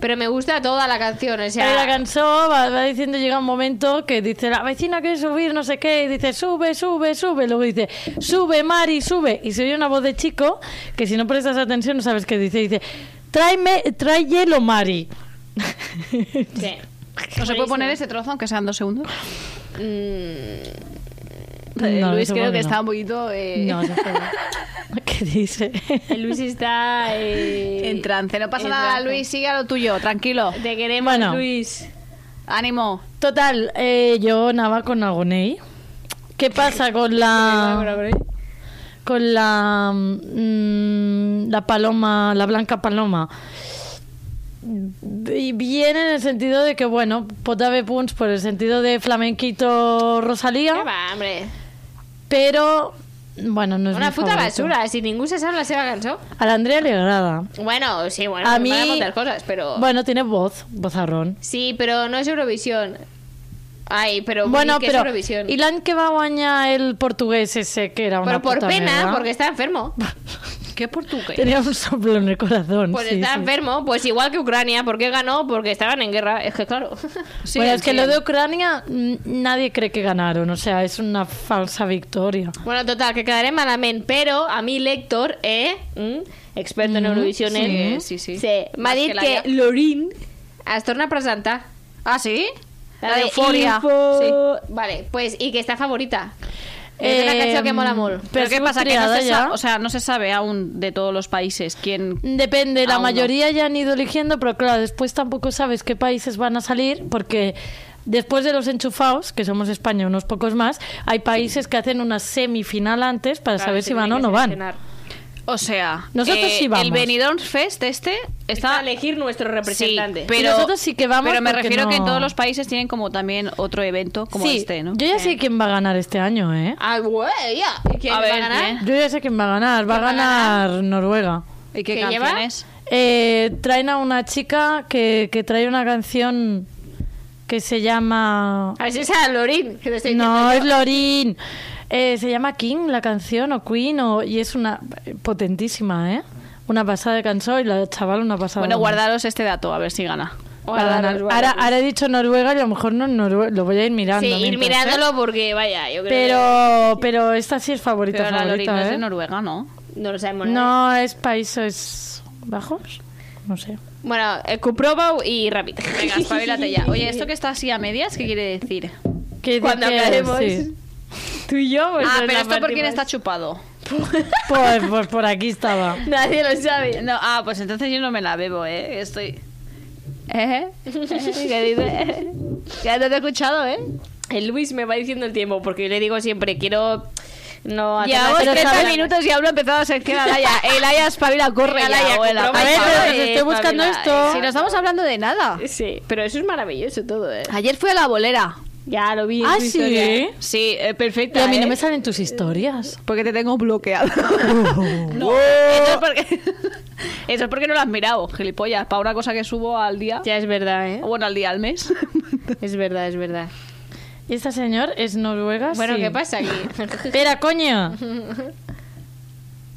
B: Pero me gusta toda la canción, o
D: Ahí
B: sea...
D: la cansó, va, va diciendo, llega un momento que dice, la vecina quiere subir, no sé qué, y dice, sube, sube, sube, luego dice, sube, Mari, sube, y se oye una voz de chico que si no prestas atención no sabes qué dice, y dice, tráeme, trae hielo, Mari.
B: Sí.
C: ¿No se puede poner ese trozo aunque sean dos segundos?
B: Mm,
C: Eh,
D: No,
C: Luis
D: supongo
C: creo que
D: que no.
C: está un poquito eh,
D: No, se puede. ¿Qué dice?
B: El Luis está... eh,
C: en trance. No pasa
B: en
C: nada,
B: trance.
C: Luis, sigue a lo tuyo, tranquilo.
B: Te queremos,
D: Bueno.
B: Luis.
C: Ánimo.
D: Total, eh, yo nada con Agonei. ¿Qué pasa con la con la mm, la paloma, la blanca paloma? Y bien en el sentido de que, bueno, pot haver punts por el sentido de flamenquito
B: ¿Qué
D: Rosalía,
B: va, hombre?
D: pero, bueno, no es
B: Una
D: mi
B: puta
D: favorito.
B: basura, si ningún se sabe la seva cançó.
D: A la Andrea le agrada.
B: Bueno, sí, bueno,
D: A
B: me
D: mí-
B: van a contar cosas, pero...
D: Bueno, tiene voz, vozarrón.
B: Sí, però no és Eurovisión. Ai, però vull
D: bueno,
B: dir que és
D: pero
B: Eurovisión.
D: y l'any que va guanyar el portugués ese que era una
B: Pero por
D: puta
B: pena,
D: merda.
B: porque está enfermo.
C: ¿Qué portugués?
D: Tenía un soplo en el corazón.
B: Pues
D: sí,
B: está
D: sí.
B: enfermo, pues igual que Ucrania, porque ganó, porque estaban en guerra. Es que claro.
D: bueno, es que lo de Ucrania mm, nadie cree que ganaron, o sea, es una falsa victoria.
B: Bueno, total, que quedaré malamente, pero a mi lector, eh, mm, experto en
D: Mm,
B: Eurovisión, eh,
C: sí, sí, sí.
B: m'ha
C: Más
B: dit
C: que la
B: que,
C: IA.
B: Lorin es torna a presentar.
C: ¿Ah, sí?
B: de
C: euforia.
B: Info- Vale, pues, y que está favorita. És
D: Eh,
B: una canción que mola molt.
D: Pero,
C: Pero ¿qué pasa? Que no se
D: ya.
C: sa- o sea, no se sabe aún de todos los países quién...
D: Depende, la
B: Ah,
C: Aún no.
D: mayoría ya han ido eligiendo, pero claro, después tampoco sabes qué países van a salir porque después de los enchufados, que somos España unos pocos más, hay países que hacen una semifinal antes para
B: Claro,
D: saber
B: se
D: si van
B: tiene
D: o
B: que
D: no van.
B: seleccionar.
C: O sea, eh,
D: Nosotros sí vamos.
C: el Benidorm Fest este
B: Está a
C: está...
B: elegir nuestro
C: Sí,
B: representante.
C: pero,
D: Nosotros sí que vamos
C: pero me
D: porque
C: refiero
D: no-
C: que en todos los países tienen como también otro evento como
D: sí,
C: este, ¿no?
D: yo ya sé quién va a ganar este año, ¿eh?
B: Ah, güey, ya. ¿Quién
C: A
B: va
C: ver,
B: a ganar?
C: ¿quién?
D: Yo ya sé quién va a ganar, va a
B: ¿Quién va a
D: ganar Noruega.
C: ¿Y qué,
B: ¿Qué lleva?
C: canciones?
D: Eh, traen a una chica que, que trae una canción que se llama...
B: A ver si es a Lorin, Ah, que te estoy
D: No, es
B: diciendo yo.
D: Lorin. Eh, se llama King la canción o Queen o, y es una potentísima, ¿eh? Una pasada de canción y la chaval una pasada.
C: Bueno, guardaros este dato, a ver si gana.
D: Guardaros,
B: Guardaros,
D: Ahora,
B: guardaros.
D: ahora he dicho Noruega y a lo mejor no es Noruega, lo voy a ir mirando.
B: Sí, ir
D: mientras, ¿eh?
B: mirándolo porque, vaya, yo creo
D: Pero, pero esta sí es favorita,
C: Pero la Lorita
D: favorita,
C: es
D: ¿eh?
C: de Noruega, ¿no?
B: que no lo sabemos. nada.
D: No, es Países Bajos, no sé.
B: Bueno, eh, Kuprobo y Rapid.
C: Venga, espabilate ya. Oye, esto que está así a medias, ¿qué quiere decir?
D: ¿Qué de
B: Cuando
D: qué?
B: acabemos.
D: Sí.
B: Tú y yo, pues,
C: Ah,
B: es
C: pero
B: la
C: esto por
B: parte
C: quién
B: más-
C: está chupado.
D: Pues, pues por aquí estaba.
B: Nadie lo sabe.
C: No, ah, pues entonces yo no me la bebo, ¿eh? Estoy... ¿Eh? ¿Qué dice? Ya no te he escuchado, ¿eh?
B: El Luis me va diciendo el tiempo porque yo le digo siempre, quiero. No,
C: Llevamos
B: hacer-
C: 30
B: Pero-
C: minutos y aún no ha empezado a sección Alaya. El Alaya espabila, corre
B: Venga,
C: ya,
B: Laia,
C: abuela.
B: compró
C: A ver,
B: bacalao,
D: pero os estoy
B: eh,
D: buscando
B: espabila,
D: esto.
B: eh.
C: si no estamos hablando de nada.
B: Ah. Sí, pero eso es maravilloso todo, ¿eh?
C: Ayer fui a la bolera.
B: Ya lo vi. en
D: Ah,
B: tu
D: sí.
B: historia.
C: Sí, eh,
D: Y
C: perfecta,
D: a mí no
C: ¿eh?
D: me salen tus historias.
C: Porque te tengo bloqueado. no, eso es porque... eso es porque no lo has mirado, gilipollas. Para una cosa que subo al día...
B: Ya es verdad, ¿eh?
C: Bueno, al día, al mes.
B: Es verdad, es verdad.
D: ¿Y esta señor es noruega?
B: Bueno,
D: Ah, Sí.
B: ¿qué pasa aquí?
D: Espera, coño.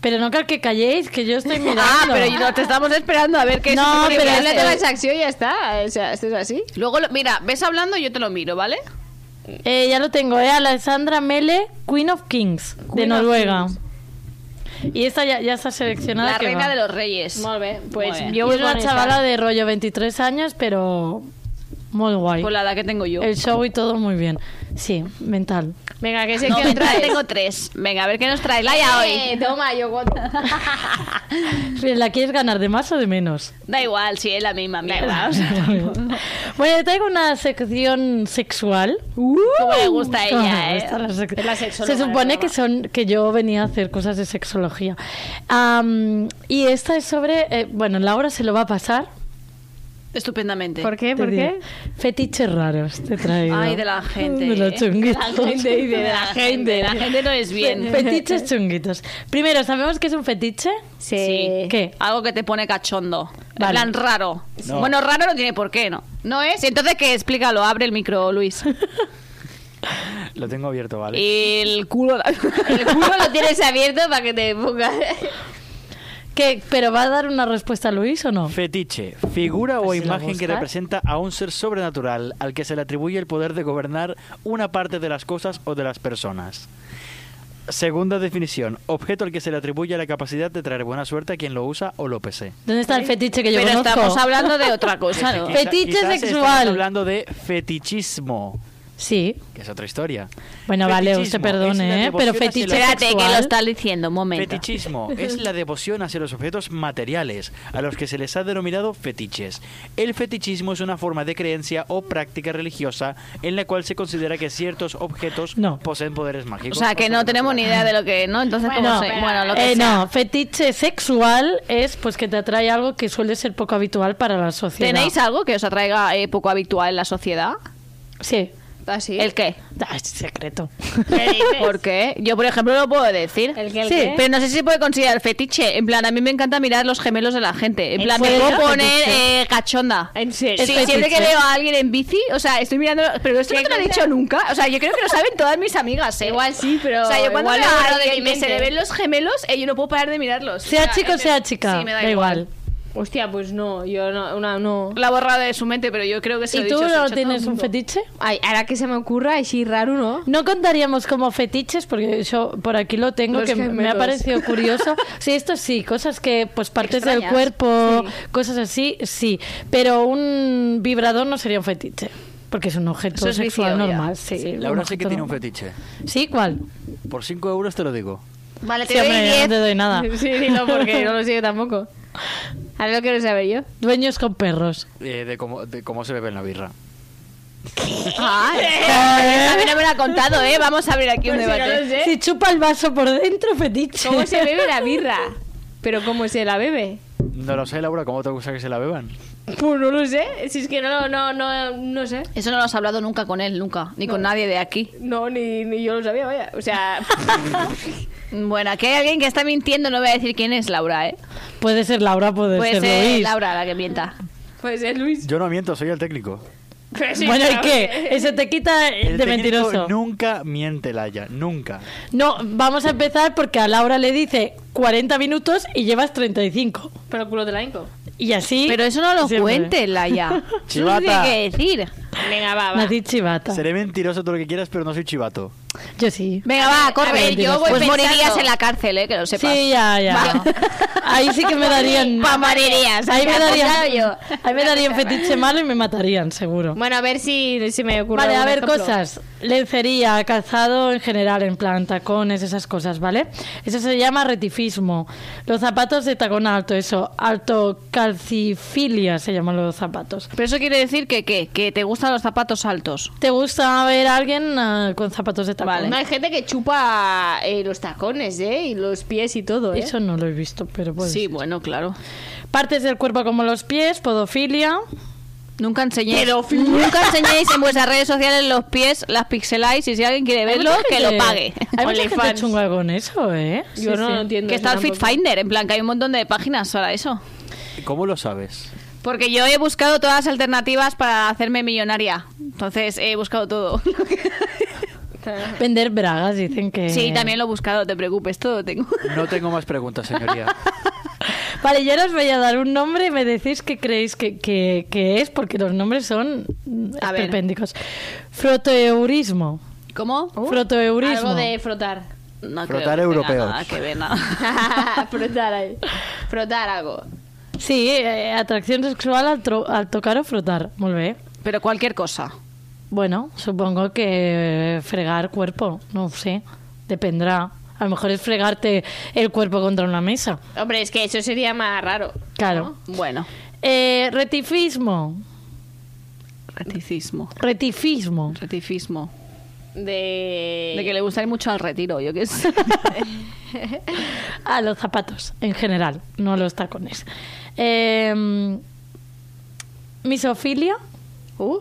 D: Pero no creo que calléis, que yo estoy mirando.
C: Ah, pero y no, te estamos esperando a ver qué es.
D: No, pero
B: Pero
D: es-
B: la transacción ya está. O sea, esto es así.
C: Luego, lo- mira, ves hablando y yo te lo miro, ¿vale?
D: Eh, ya lo tengo, ¿eh? Alessandra Mele, Queen of Kings, de
B: Queen of
D: Noruega. Y esta ya, ya está seleccionada.
C: la
D: que
C: reina
D: va.
C: de los reyes.
B: Molt bé, pues
C: Molt bé.
B: yo
D: Y
B: voy
D: es una
B: con esa.
D: chavala de rollo 23 años, pero muy guay.
C: Por la edad que tengo yo.
D: El show y todo muy bien. Sí, mental.
B: Venga, que sé
C: No,
B: que otra
C: mentira,
B: vez.
C: tengo tres. Venga, a ver qué nos trae Laia
B: Eh,
C: hoy.
B: toma, yo cuento.
D: ¿La quieres ganar de más o de menos?
C: Da igual, si es la misma mierda. o sea,
D: bueno, yo traigo una sección sexual.
B: Uh.
C: Como le gusta a ella,
D: Como le
C: ¿eh?
D: gusta la sex-
B: Es la sexóloga
D: Se supone
B: del
D: que son que yo venía a hacer cosas de sexología. Am, y esta es sobre, eh, bueno, Laura se lo va a pasar.
C: Estupendamente.
B: ¿Por qué?
D: Te
B: ¿Por
D: diré.
B: qué?
D: Fetiches raros te traigo.
C: Ay, de la gente.
D: De los
C: ¿eh?
D: chunguitos.
C: De la gente, y de la gente. La gente no es
D: Fe-
C: bien.
D: Fetiches chunguitos. Primero, ¿sabemos qué es un fetiche?
B: Sí.
C: Sí.
D: ¿Qué?
C: Algo que te pone cachondo. En
D: Vale.
C: plan raro.
A: No.
C: Bueno, raro no tiene por qué, ¿no? ¿No es? Entonces, ¿qué? Explícalo. Abre el micro, Luis.
E: Lo tengo abierto, ¿vale?
D: Eh.
C: El culo...
B: El culo lo tienes abierto para que te pongas.
D: ¿Qué? ¿Pero va a dar una respuesta Luis o no?
E: Fetiche, figura o
D: Así lo
E: imagen que
D: buscas.
E: representa a un ser sobrenatural al que se le atribuye el poder de gobernar una parte de las cosas o de las personas. Segunda definición, objeto al que se le atribuye la capacidad de traer buena suerte a quien lo usa o lo posee.
D: ¿Dónde está el fetiche que yo
C: Pero
D: conozco?
C: estamos hablando de otra cosa, ¿no?
D: Quizá- Fetiche
E: quizás
D: sexual.
E: estamos hablando de fetichismo,
D: Sí.
E: que es otra historia.
D: Bueno, vale, usted
E: Fetichismo es la
D: perdone, ¿eh?
E: devoción
D: Pero
E: hacia
D: fetiche
E: los-
D: sexual...
C: Espérate, que lo estás diciendo. Un momento.
E: Fetichismo es la devoción hacia los objetos materiales, a los que se les ha denominado fetiches. El fetichismo es una forma de creencia o práctica religiosa en la cual se considera que ciertos objetos
D: No.
E: poseen poderes mágicos.
C: O sea, que no tenemos ni idea de lo que... ¿No? Entonces, ¿cómo
D: No,
C: se- Bueno, lo que
D: eh,
C: sea.
D: no, fetiche sexual es pues que te atrae algo que suele ser poco habitual para la sociedad.
C: ¿Tenéis algo que os atraiga eh, poco habitual en la sociedad?
D: Sí.
B: Así.
C: ¿El qué?
D: Ah, es secreto.
C: ¿Por qué? Yo, por ejemplo, lo puedo decir.
B: ¿El qué, el
C: sí,
B: qué?
C: pero no sé si se puede considerar fetiche. En plan, a mí me encanta mirar los gemelos de la gente. En plan, me
D: serio?
C: puedo poner
D: Fetiche.
C: eh, cachonda.
B: ¿En serio?
C: Sí,
D: ¿Es fetiche?
C: siempre que veo a alguien en bici, o sea, estoy mirando... Pero esto no
B: ¿Qué
C: te lo he
B: cosa?
C: dicho nunca. O sea, yo creo que lo saben todas mis amigas, ¿eh?
B: Igual Ah, sí, pero
C: O sea, yo cuando
B: igual
C: veo
B: lo he
C: a
B: borrado de
C: alguien
B: mi
C: que se
B: mente.
C: le ven los gemelos, eh, yo no puedo parar de mirarlos. O
D: Sea chico,
C: es-
D: sea chica.
C: Sí, me da,
D: igual.
B: Hostia, pues no, yo no, una no.
C: La he borrado de su mente, pero yo creo que se lo
D: ¿Y
C: he
D: tú
C: dicho, se lo he
D: no
C: dicho a
D: tienes
C: todo el
D: un
C: mundo.
D: fetiche?
B: Ay, ahora que se me ocurra, así raro, ¿no?
D: No contaríamos como fetiches, porque yo por aquí lo tengo,
B: Los
D: que me
B: gemelos.
D: ha parecido curioso. Sí, esto sí, cosas que, pues partes del
C: Extrañas.
D: cuerpo,
B: Sí.
D: cosas así, sí. Pero un vibrador no sería un fetiche. Porque es un objeto
C: Eso es
D: sexual
C: vicio, ya.
D: normal. Sí,
C: Sí.
E: Laura
D: un
E: sí que
D: objeto
E: tiene un
D: normal.
E: fetiche.
D: Sí, ¿cuál?
E: Por 5 euros te lo digo.
C: Vale, te
D: Sí,
C: doy
D: hombre, yo no
C: 10.
D: te doy nada.
B: Sí, dilo porque no lo sé yo tampoco. Ahora lo quiero saber yo.
D: Dueños con perros.
E: eh, de, cómo, de cómo se bebe en la birra.
C: Ah, esa a mí no me la ha contado, ¿eh? Vamos a abrir aquí un
B: Pues si no
C: debate.
B: lo sé.
D: Si chupa el vaso por dentro, fetiche.
B: ¿Cómo se bebe la birra? Pero ¿cómo se la bebe?
E: No lo sé, Laura, ¿cómo te gusta que se la beban?
B: Pues no lo sé. Si es que no, no, no, no sé.
C: Eso no lo has hablado nunca con él, nunca. Ni con nadie de aquí.
B: No, ni, ni yo lo sabía, vaya. O sea,
C: Bueno, aquí hay alguien que está mintiendo, no voy a decir quién es Laura, ¿eh?
D: Puede ser Laura, puede,
C: Puede
D: ser,
C: ser
D: Luis.
C: Laura la que mienta.
B: pues es Luis.
E: Yo no miento, soy el técnico.
B: Pero sí,
D: Bueno, ¿y
B: claro.
D: qué? Eso te quita eh,
E: El
D: de
E: técnico
D: mentiroso.
E: Nunca miente, Laia, nunca.
D: No, vamos a empezar porque a Laura le dice 40 minutos y llevas 35.
B: Pero culo de la Inco.
D: Y así.
C: Pero eso no lo
D: siempre.
C: cuente, Laia. Eso no
E: Chivata.
C: tiene que decir.
B: Venga, va, va.
D: Nací chivata.
E: Seré mentiroso todo lo que quieras, pero no soy chivato.
D: Yo sí.
C: Venga, va, corre.
B: A ver, yo voy
C: pues
B: pensando.
C: morirías en la cárcel, ¿eh? Que lo sepas.
D: Sí, ya, ya.
C: Va.
D: Ahí sí que me darían.
C: Va, morirías.
D: Ahí me
C: Apuntado
D: darían,
C: yo.
D: ahí me darían fetiche malo y me matarían, seguro.
B: Bueno, a ver si, si me ocurre.
D: Vale, a
B: algún
D: ver,
B: ejemplo.
D: cosas. Lencería, calzado en general, en plan, tacones, esas cosas, ¿vale? Eso se llama retifismo. Los zapatos de tacón alto, eso. Alto calcifilia se llaman los zapatos.
C: Pero eso quiere decir que, ¿qué? Que te gustan los zapatos altos.
D: ¿Te gusta ver a alguien ah, con zapatos de tacón?
C: Vale.
B: No, hay gente que chupa eh, los tacones, ¿eh? Y los pies y todo, ¿eh?
D: Eso no lo he visto, pero pues.
C: sí, bueno, claro.
D: Partes del cuerpo como los pies, podofilia.
C: Nunca enseñéis, nunca enseñéis en vuestras redes sociales los pies, las pixeláis y si alguien quiere verlo,
D: Hay mucha
C: que
D: gente-
C: lo pague.
D: Hay mucha gente
B: OnlyFans.
D: chunga con eso, ¿eh?
B: Yo no lo entiendo.
C: Que
B: eso
C: está el Fit
B: tampoco.
C: Finder, en plan que hay un montón de páginas para eso.
E: ¿Cómo lo sabes?
C: Porque yo he buscado todas las alternativas para hacerme millonaria. Entonces he buscado todo.
D: Vender bragas, dicen que.
C: Sí,
E: Eh.
C: también lo he buscado, te preocupes, todo tengo.
E: No tengo más preguntas, señoría.
D: Vale, yo ahora os voy a dar un nombre y me decís qué creéis que, que- que es, porque los nombres son
C: A ver.
D: perpéndicos. Frotoeurismo.
C: ¿Cómo?
D: Frotoeurismo.
B: Algo de frotar.
C: No
E: Uh. Frotar
C: creo que tenga
E: europeos.
C: Nada que ver, nada.
B: frotar ahí. Frotar algo.
D: Sí, eh, atracción sexual al, tro- al tocar o frotar. Molt bé.
C: Pero cualquier cosa.
D: Bueno, supongo que eh, fregar cuerpo, no sé, dependrá. A lo mejor es fregarte el cuerpo contra una mesa.
B: Hombre, es que eso sería más raro.
D: Claro.
C: Bueno,
D: Eh, retifismo.
C: reticismo.
D: Retifismo.
C: Retifismo.
B: De.
C: De que le gusta ir mucho al retiro, yo qué sé.
D: A los zapatos, en general, no a los tacones. Eh, misofilia.
B: Uh,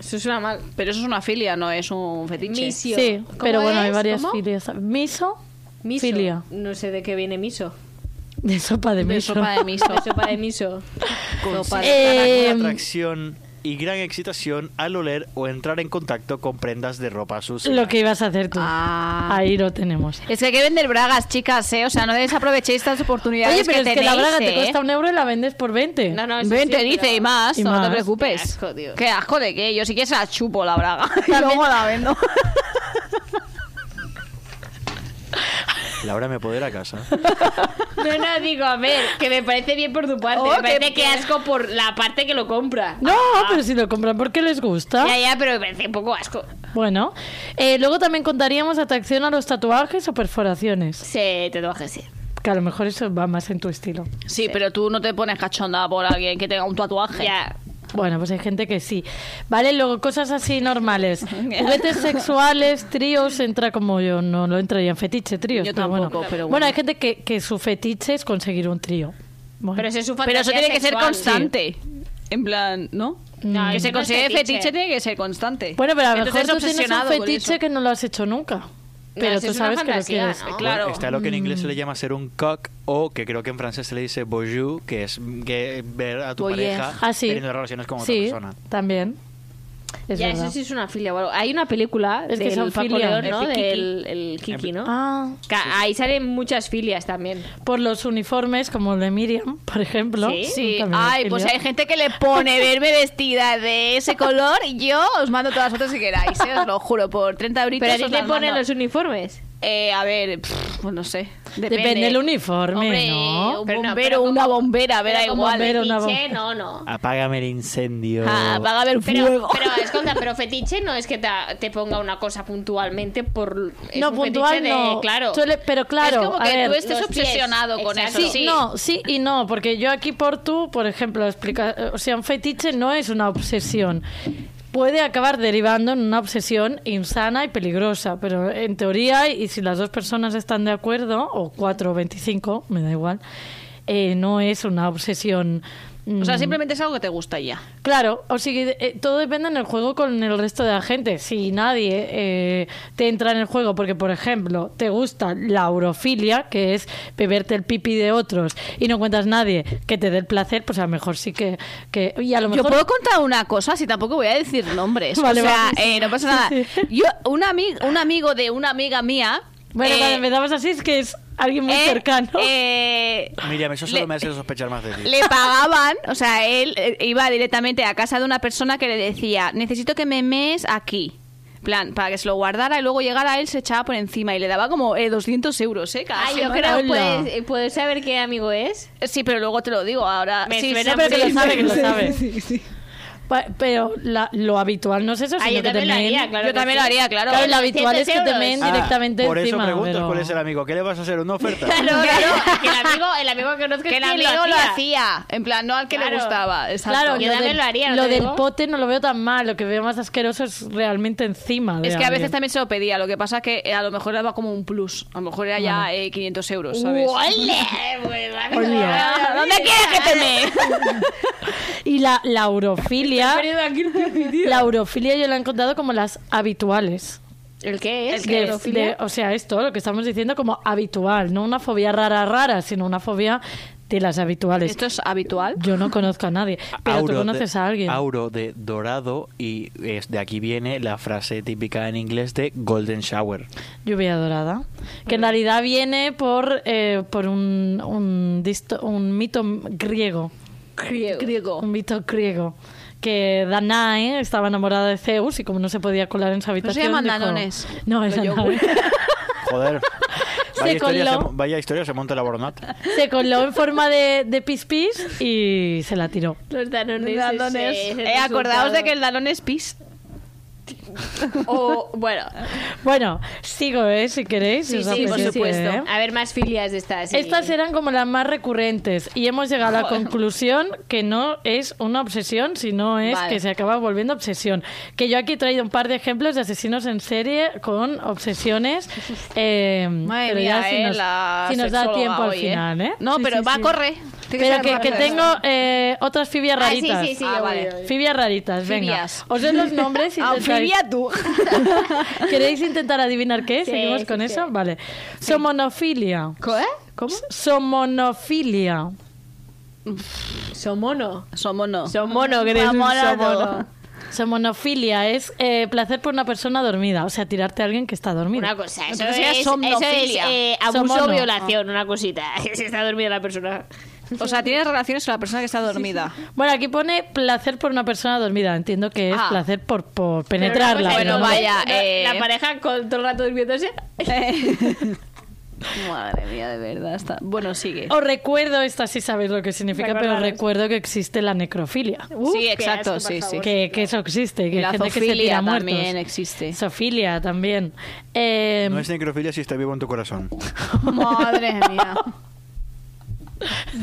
B: eso suena mal.
C: Pero eso es una filia, no es un fetiche.
B: Misio.
D: Sí,
B: ¿Cómo
D: pero bueno, hay
B: es?
D: varias
B: ¿Cómo?
D: filias. Miso.
B: Miso.
D: Filia.
B: No sé de qué viene miso.
D: De sopa de
C: De
D: miso.
C: sopa de miso.
B: De sopa de miso.
C: Sopa de-
D: Eh,
E: Gran atracción y gran excitación al oler o entrar en contacto con prendas de ropa sucia.
D: lo que ibas a hacer tú.
C: Ah.
D: Ahí lo tenemos.
C: Es que hay que vender bragas, chicas, ¿eh? O sea, no desaprovechéis estas oportunidades
D: Oye, pero
C: que
D: es que la
C: tenéis,
D: braga
C: ¿eh?
D: te cuesta un euro y la vendes por 20.
B: No, no, eso
C: Vente,
B: sí,
C: dice,
B: pero-
C: y más,
D: Y
C: no
D: más.
C: te preocupes.
B: Qué asco, tío.
C: Qué asco de qué, yo sí que se la chupo la braga. Y
D: También-
C: luego la vendo.
E: Laura, me puedo ir a casa.
B: No, no, digo, a ver, que me parece bien por tu parte.
C: Oh,
B: me parece
C: qué-
B: que asco por la parte que lo compra.
D: No, pero si lo compran porque les gusta.
B: Ya, ya, pero me parece un poco asco.
D: Bueno, eh, luego también contaríamos atracción a los tatuajes o perforaciones.
B: Se tatuaje, sí.
D: Que a lo mejor eso va más en tu estilo.
C: Sí, pero tú no te pones cachonda por alguien que tenga un tatuaje.
B: Ya.
D: Bueno, pues hay gente que sí. Vale, luego cosas así normales. Juguetes sexuales, tríos, entra como yo, no lo entraría en fetiche, tríos.
C: Yo
D: pero
C: tampoco,
D: bueno.
C: pero bueno.
D: hay gente que, que su fetiche es conseguir un trío. Bueno.
B: Pero eso es su
C: Pero
B: fantasía
C: eso tiene que ser
B: sexual.
C: constante. En plan, ¿no?
B: No,
C: que
B: eso
C: se
B: no es
C: considere fetiche. tiene que ser constante.
D: Bueno, pero a lo
C: Entonces,
D: mejor tú tienes un
C: obsesionado con
D: fetiche
C: eso.
D: que no lo has hecho nunca. Pero
B: eso
D: tú
B: es una
D: sabes que lo
B: fantasía,
D: quieres.
B: ¿no?
C: Claro.
E: Bueno, está lo que en inglés se
D: Mm.
E: le llama ser un cock o que creo que en francés se le dice bonjour, que es que ver a tu
C: Voyeur.
E: pareja
D: Ah, sí.
E: teniendo relaciones con otra
D: sí,
E: persona.
D: también. Es
B: ya,
D: verdad.
B: eso sí es una filia. o algo. Hay una película
D: Es que
B: del
D: son
B: Paco
D: filias.
B: León, ¿no?
C: El Kiki.
B: Del el Kiki, ¿no?
D: Ah,
B: Que Ahí salen muchas filias también.
D: por los uniformes, como el de Miriam, por ejemplo.
B: Sí.
C: Sí,
D: También es
C: ay, pues
D: filia.
C: hay gente que le pone verme vestida de ese color y yo os mando todas las fotos que queráis, ¿eh? os lo juro, por 30 euritos.
B: Pero a ti
C: os
B: te
C: las
B: ponen
C: mando.
B: los uniformes.
C: Eh, a ver, pff, pues no sé. Depende.
D: Depende del uniforme,
B: Hombre,
D: ¿no?
B: un
C: Pero no,
B: bombero,
C: pero
B: una
C: una bombera, verá
B: Però com
C: igual.
D: bombero, una
B: fetitxe, no, no.
E: Apágame el incendio.
C: Ah, va a haber
B: Pero,
C: fuego.
B: pero, escolta, pero fetiche no es que te, te ponga una cosa puntualmente por... es
D: no,
B: un
D: puntual
B: fetiche de-
D: no.
B: Claro.
D: Suele- pero claro,
C: es como que
D: a ver,
C: tú estés
B: los pies,
C: obsesionado con
B: exacto.
C: eso.
D: Sí, no, sí y no, porque yo aquí por tú, por ejemplo, explica, o sea, un fetiche no es una obsesión. Puede acabar derivando en una obsesión insana y peligrosa, pero en teoría, y si las dos personas están de acuerdo, o cuatro o veinticinco, me da igual, eh, no es una obsesión.
C: O sea,
D: mm,
C: simplemente es algo que te gusta y ya.
D: Claro, o sea, que, eh, todo depende en el juego con el resto de la gente. Si nadie eh, te entra en el juego porque, por ejemplo, te gusta la aurofilia, que es beberte el pipi de otros, y no encuentras nadie que te dé el placer, pues a lo mejor sí que... que y a lo
C: Yo
D: mejor...
C: puedo contar una cosa, si tampoco voy a decir nombres.
D: Vale,
C: o sea,
D: vale.
C: eh, no pasa nada.
D: Sí, sí.
C: Yo, un, ami- un amigo de una amiga mía.
D: Bueno,
C: eh,
D: cuando me dabas así es que es alguien muy
C: eh,
D: cercano.
C: eh,
E: Miriam, eso solo
C: Le-
E: me hace sospechar más de ti.
C: le pagaban, o sea, él eh, iba directamente a casa de una persona que le decía, necesito que me mees aquí. En Plan, para que se lo guardara y luego llegara él, se echaba por encima y le daba como eh, 200 euros, ¿eh? Cada
B: Ah, yo
C: semana.
B: creo,
D: Hola.
B: ¿puedes, eh, ¿puedes saber qué amigo es?
C: Sí, pero luego te lo digo ahora.
B: Me
C: sí,
B: suena
C: sí,
D: pero que
C: sí,
D: lo sabe, que lo
C: sí,
D: sabe.
C: sí, sí, sí.
D: Pa- Pero la- lo habitual no es eso,
B: Ah,
D: sino
B: yo
D: que te
B: también lo
D: meen-
B: haría, claro.
C: Yo
B: que
C: también lo
B: sí.
C: haría, claro.
D: Claro, lo habitual es que te
B: 200
D: meen
B: euros. Ah,
D: directamente
E: Ah, por eso
D: encima.
E: preguntas
D: pero-
E: cuál es el amigo. ¿Qué le vas a hacer? ¿Una oferta?
B: Claro, claro, que el amigo, el amigo que conozco
C: Que el
B: sí
C: amigo lo hacía. En plan, no al que
B: Claro.
C: le gustaba. exacto.
D: Claro,
B: Yo también lo haría, ¿no
D: lo
B: te
D: del
B: digo?
D: pote no lo veo tan mal, lo que veo más asqueroso es realmente encima. de
C: Es que a veces
D: alguien.
C: también se lo pedía, lo que pasa que eh, a lo mejor le daba como un plus. A lo mejor era ya eh, 500 euros, ¿sabes?
B: ¡Ole! Pues, amigo,
D: Ole.
B: ah,
C: ¿Dónde quieres que te me?
D: Y la, la aurofilia,
B: aquí el
D: la aurofilia yo la he encontrado como las habituales.
B: ¿El qué es?
C: ¿El qué
D: De-
C: es?
D: de- o sea, es todo lo que estamos diciendo como habitual, no una fobia rara rara, sino una fobia de las habituales.
C: Esto es habitual.
D: Yo no conozco a nadie, pero tú
E: Auro
D: conoces
E: de-
D: a alguien.
E: Auro de dorado y es, de aquí viene la frase típica en inglés de golden shower.
D: Lluvia dorada. Que en realidad viene por, eh, por un, un, disto- un mito griego.
C: Griego.
D: Un mito griego. Que Danae estaba enamorada de Zeus y como no se podía colar en su habitación...
C: llaman
D: dijo-
C: danones.
D: No, es
C: Los
D: Danae.
C: yogur.
E: Joder.
D: Se
E: Vaya, historia se,
D: coló.
E: mo- vaya historia se monta la boronat.
D: Se coló en forma de, de pis pis y se la tiró.
B: Los danones. ese es el
C: Eh,
B: resultado.
C: acordaos de que el danón es pis.
B: O, bueno,
D: Bueno, sigo, ¿eh? Si queréis.
B: sí,
D: os
B: sí, por
D: apetece,
B: supuesto.
D: ¿eh?
B: A ver, más filias de estas. sí.
D: Estas eran como las más recurrentes y hemos llegado a la conclusión que no es una obsesión, sino es
C: Vale.
D: que se acaba volviendo obsesión. Que yo aquí he traído un par de ejemplos de asesinos en serie con obsesiones. eh,
C: Madre
D: pero
C: mía,
D: ya si
C: eh,
D: nos,
C: la
D: si nos da
C: sexóloga
D: tiempo al
C: hoy, eh.
D: final, ¿eh?
C: No,
D: Sí,
C: pero
D: sí,
C: va,
D: sí.
C: corre. Tiene
D: Pero
C: ser
D: que, que
C: rápido.
D: tengo eh, otras fibias
B: Ah, sí,
D: raritas.
B: sí, sí.
C: Ah,
B: yo
C: vale.
B: voy, yo voy.
D: Fibias raritas, venga.
C: Fibias. Ah,
D: Os doy los nombres y intentáis-
C: Anfibia tú.
D: ¿Queréis intentar adivinar qué? es?
B: Sí,
D: ¿Seguimos
B: sí,
D: con
B: sí.
D: eso? Vale. Somonofilia.
B: ¿Qué?
D: ¿Cómo? Somonofilia.
B: Somono.
C: Somos no.
B: Somono, que eres un
C: Somono.
B: somono.
D: Somonofilia es eh, placer por una persona dormida, o sea, tirarte a alguien que está dormida.
B: Una cosa, eso
C: Entonces sería
B: es, eso es
C: somnofilia.
B: eh, abuso
D: Somono.
B: violación, una cosita. Se está dormida la persona.
C: O sea, tienes relaciones con la persona que está dormida.
D: Bueno, aquí pone placer por una persona dormida, entiendo que es
C: Ah.
D: placer por, por
B: Pero
D: penetrarla.
B: una cosa
C: bueno,
D: pero no-
B: es-
C: vaya,
B: no, pues,
C: eh.
B: La pareja con todo el rato durmiéndose.
C: Madre mía, de verdad. Está... Bueno, sigue.
D: Os recuerdo, esta sí sabéis lo que significa, pero os
B: Recordaros.
D: recuerdo que existe la necrofilia.
C: sí,
B: Uh, qué asco,
C: exacto,
B: por
C: sí, sí.
B: favor.
D: Que, que eso existe, que
C: La
D: hay gente que se tira
C: zoofilia
D: a muertos.
C: también existe.
D: Sofilia también. Eh,
E: No es necrofilia si está vivo en tu corazón.
C: Madre mía.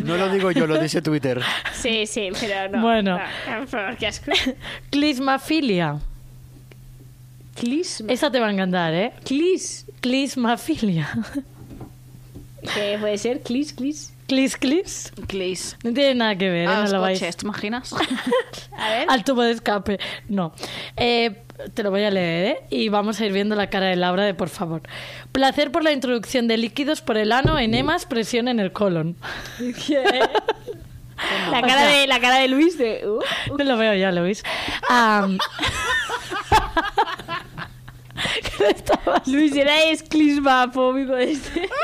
E: No lo digo yo, lo dice Twitter.
B: Sí, sí, pero no.
D: Bueno.
B: No, por favor, qué asco.
D: Clismafilia.
B: Clis.
D: Esa te va a encantar, ¿eh?
B: Clis.
D: Clismafilia.
B: ¿Qué puede ser? Clis, clis.
D: Clis, clis.
C: Clis.
D: No tiene nada que ver, ¿eh?
C: A
D: no
C: los
D: lo vais.
C: coches, ¿te imaginas?
B: A ver.
D: Al tubo de escape. No. Eh, te lo voy a leer, ¿eh? Y vamos a ir viendo la cara de Laura de por favor. Placer por la introducción de líquidos por el ano, enemas, presión en el colon.
B: La cara, de, la cara de Luis de... uh,
D: No lo veo ya, Luis. Am,
B: Luis era esclismafóbico este.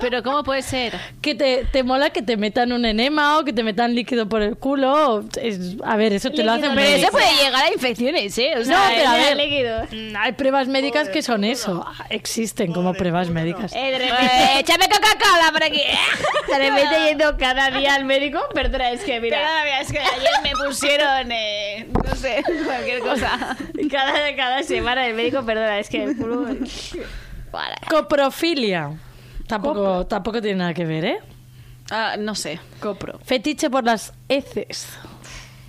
C: Pero ¿cómo puede ser?
D: Que te, te mola que te metan un enema o que te metan líquido por el culo. o- es- a ver, eso te lo hacen.
C: Pero
D: médicos.
C: eso puede llegar a infecciones, ¿eh? O sea,
D: No, pero a
C: es
D: ver.
C: líquido.
D: Mm, Hay pruebas médicas que son eso. Ah, Existen como pruebas médicas.
C: Eh, de repente, échame Coca-Cola por aquí.
B: De repente yendo cada día al médico, perdona, es que
C: Pero
B: mira,
C: la verdad es que ayer me pusieron, eh, no sé, cualquier cosa.
B: cada, cada semana el médico, perdona, es que el culo... Para.
D: Coprofilia. Tampoco, tampoco tiene nada que ver, ¿eh?
C: Ah, no sé, copro.
D: Fetiche por las heces.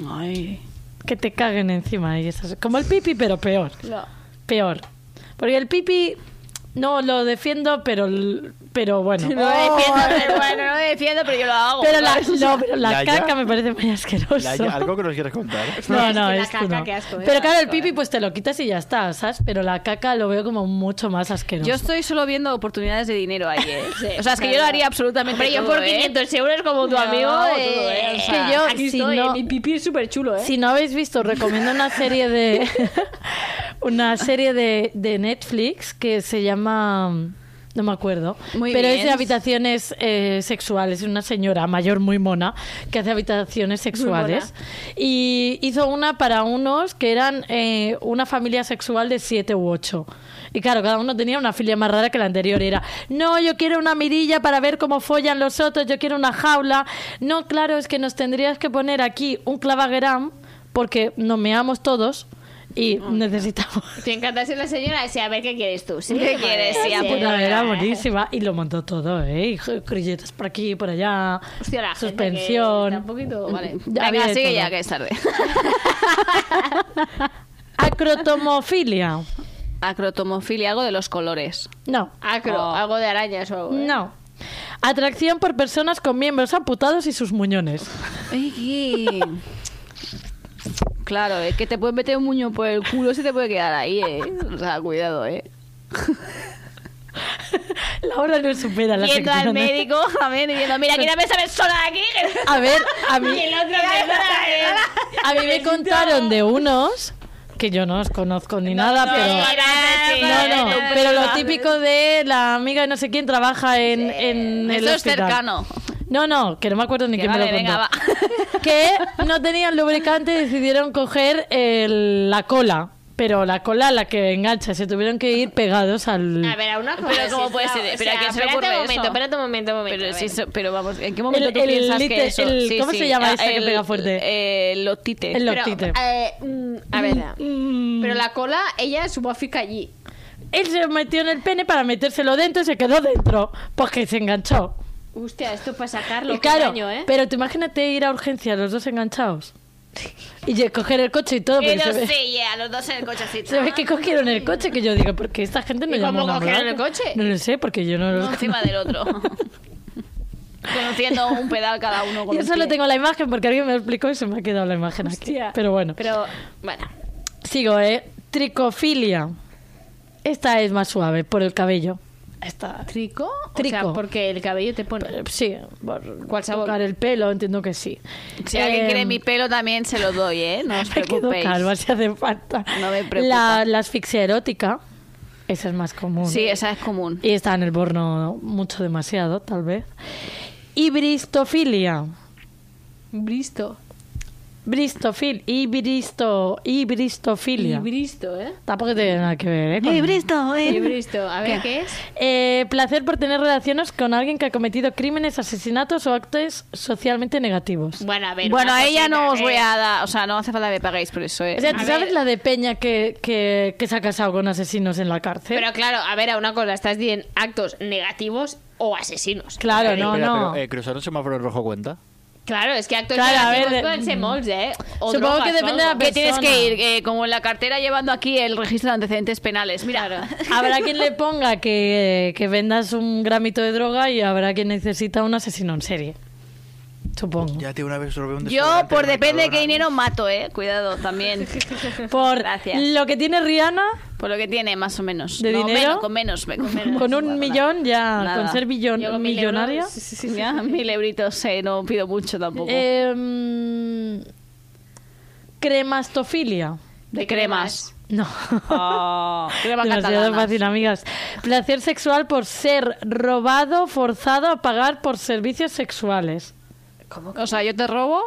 C: Ay.
D: Que te caguen encima y esas. Como el pipi, pero peor.
C: No.
D: Peor. Porque el pipi no lo defiendo, pero, l- pero bueno.
C: No lo defiendo, pero bueno, no lo defiendo, pero yo lo hago.
D: Pero la, no, pero la
E: Laia.
D: caca me parece muy asqueroso.
E: Laia, algo que nos quieras contar.
D: No,
B: Es
D: no,
B: que la
D: es que
B: caca,
D: no.
B: qué asco, eh,
D: Pero claro, el
B: asco,
D: pipi
B: eh.
D: pues te lo quitas y ya está, ¿sabes? Pero la caca lo veo como mucho más asqueroso.
C: Yo estoy solo viendo oportunidades de dinero ayer.
B: Sí,
C: o sea, es que yo lo
B: claro.
C: haría absolutamente
B: Hombre, yo
C: todo,
B: por
C: ¿eh?
B: 500 euros como tu
C: No,
B: amigo,
C: todo,
B: eh,
C: eh,
B: o
C: que
B: sea,
D: yo,
B: aquí
D: si
B: estoy,
D: no-
B: mi pipí es súper chulo, ¿eh?
D: Si no habéis visto, os recomiendo una serie de una serie de, de Netflix que se llama no me acuerdo,
C: Muy
D: pero es
C: bien.
D: de habitaciones eh, sexuales. Es una señora mayor muy mona que hace habitaciones sexuales y hizo una para unos que eran eh, una familia sexual de siete u ocho. Y claro, cada uno tenía una filia más rara que la anterior. Era, no, yo quiero una mirilla para ver cómo follan los otros, yo quiero una jaula. No, claro, es que nos tendrías que poner aquí un clavagueram porque nos meamos todos y necesitamos.
B: Te encanta ser la señora, sí, a ver qué quieres tú. Sí,
C: ¿Qué
B: Madre
C: quieres? Sí,
B: mía,
C: a
B: sí.
C: puta
D: Bueno, era buenísima y lo montó todo, ¿eh? Y jo- Grilletes por aquí, por allá,
B: Hostia, la gente que
D: suspensión.
B: está un poquito- vale.
D: Ya había
C: Venga,
D: de
C: sigue
D: todo.
C: ya, que es tarde.
D: Acrotomofilia.
C: Acrotomofilia, algo de los colores.
D: No,
B: Acro,
C: Oh.
B: algo de arañas o algo. ¿eh?
D: no. Atracción por personas con miembros amputados y sus muñones.
C: claro, es que te puedes meter un muño por el culo, se te puede quedar ahí, ¿eh? O sea, cuidado, ¿eh?
D: La hora no supera la
C: Yendo al
D: sección, ¿eh?
C: médico, a ver, diciendo, mira, quítame esa persona de aquí.
D: A ver, a mí,
C: El otro me
D: a mí me contaron de unos que yo no os conozco ni nada, pero... No, no, pero lo típico de la amiga de no sé quién trabaja en, en el
C: Eso es
D: hospital.
C: cercano.
D: No, no, que no me acuerdo ni
C: Que
D: quién me
C: vale,
D: lo
C: venga,
D: contó. Que no tenían lubricante y decidieron coger el- la cola. Pero la cola la que engancha, se tuvieron que ir pegados al...
B: A ver, a una cosa.
C: Pero
B: sí,
C: ¿cómo puede
B: claro,
C: ser?
B: o
C: Pero ¿a
B: sea,
C: quién se le
B: espérate
C: ocurre
B: un momento,
C: eso?
B: espérate un momento, un momento.
C: Pero,
B: a
C: sí,
B: ver.
C: so- pero vamos, ¿en qué momento
D: El-
C: tú
D: el
C: piensas
D: lite-
C: que eso? Ah,
D: el- ¿cómo se llama esta que
C: el- eh,
D: pega fuerte?
C: El lotite.
D: El
B: Pero,
D: loctite.
B: eh, mm, a ver, ah.
C: Mm.
B: pero la cola, ella supo a fica allí.
D: Mm. Él se lo metió en el pene para metérselo dentro y se quedó dentro. Porque se enganchó.
B: Hostia, esto para sacarlo.
D: Y claro,
B: coño, ¿eh?
D: pero tú imagínate ir a urgencia los dos enganchados. Y lle- coger el coche y todo. Pero se, ve,
C: sí, ya, los dos en el cochecito.
D: se ve que cogieron el coche, que yo digo, porque esta gente no
B: ¿Y
D: llamó
B: cómo
D: a una
B: cogieron el
D: ambulancia?
B: coche?
D: No lo sé, porque yo no lo
C: Encima del otro. Conociendo un pedal cada uno con
D: Yo
C: un
D: solo
C: pie.
D: tengo la imagen porque alguien me lo explicó y se me ha quedado la imagen
B: Hostia.
D: aquí. Pero bueno,
B: Pero, bueno.
D: sigo, ¿eh? Tricofilia. Esta es más suave, por el cabello. Esta.
B: ¿Trico? O
D: Trico.
B: sea, porque el cabello te pone.
D: Eh, Sí, por
B: ¿Cuál sabor?
D: tocar el pelo, entiendo que sí.
C: Si alguien
D: Eh,
C: quiere mi pelo también se lo doy, ¿eh? No os
D: Me quedo
C: preocupéis.
D: calva si hace falta.
C: No me preocupa.
D: La, la asfixia erótica, esa es más común.
C: Sí, esa es común.
D: Y está en el borno mucho demasiado, tal vez. Y bristofilia.
B: Bristo.
D: Bristofil. Y bristo. Y bristofilia.
B: Y bristo, ¿eh?
D: Tampoco tiene nada que ver, ¿eh? con-
B: Y bristo. A ver, ¿qué es?
D: Eh, placer por tener relaciones con alguien que ha cometido crímenes, asesinatos o actos socialmente negativos.
B: Bueno, a ver.
C: bueno,
B: una
C: a ella
B: cosita,
C: no os
B: eh.
C: voy a dar... O sea, no hace falta que me paguéis por eso, ¿eh?
D: O sea, ¿tú
B: A
D: sabes
B: ver.
D: la de Peña que, que, que se ha casado con asesinos en la cárcel?
B: Pero claro, a ver, a una cosa, estás diciendo actos negativos o asesinos.
D: claro,
E: Eh,
D: no,
E: espera,
D: no.
E: Però, eh, ¿Cruzar un semáforo en rojo cuenta?
B: Claro, es que actos
D: Claro, a
B: negativos
D: ver, de-
B: pueden ser molts, ¿eh? O
D: Supongo
B: drogas
D: que
B: o
D: depende de la
B: algo.
D: pe-
C: que tienes
D: persona.
C: que ir eh, como en la cartera llevando aquí el registro de antecedentes penales. Mira,
D: Habrá quien le ponga que, que vendas un gramito de droga y habrá quien necesita un asesino en serie. Supongo.
E: Ya, tío, una vez robé un
C: yo
D: pues
C: por depende de qué dinero mato, ¿eh? Cuidado también.
D: Por
C: Gracias.
D: lo que tiene Rihanna,
C: Por lo que tiene, más o menos.
D: ¿De
C: No,
D: dinero?
C: menos, con menos. me- Con, menos.
D: con un
C: Nada.
D: millón ya,
C: Nada.
D: con ser billon-
B: Yo con mil
D: millonaria.
B: euros, sí, sí, sí.
C: Ya, mil euritos, eh, no pido mucho tampoco.
D: Eh, Em, cremastofilia.
C: de cremas.
D: No.
C: Oh, crema
D: Demasiado
C: catalana.
D: fácil, amigas. Placer sexual por ser robado, forzado a pagar por servicios sexuales.
C: O sea, yo te robo.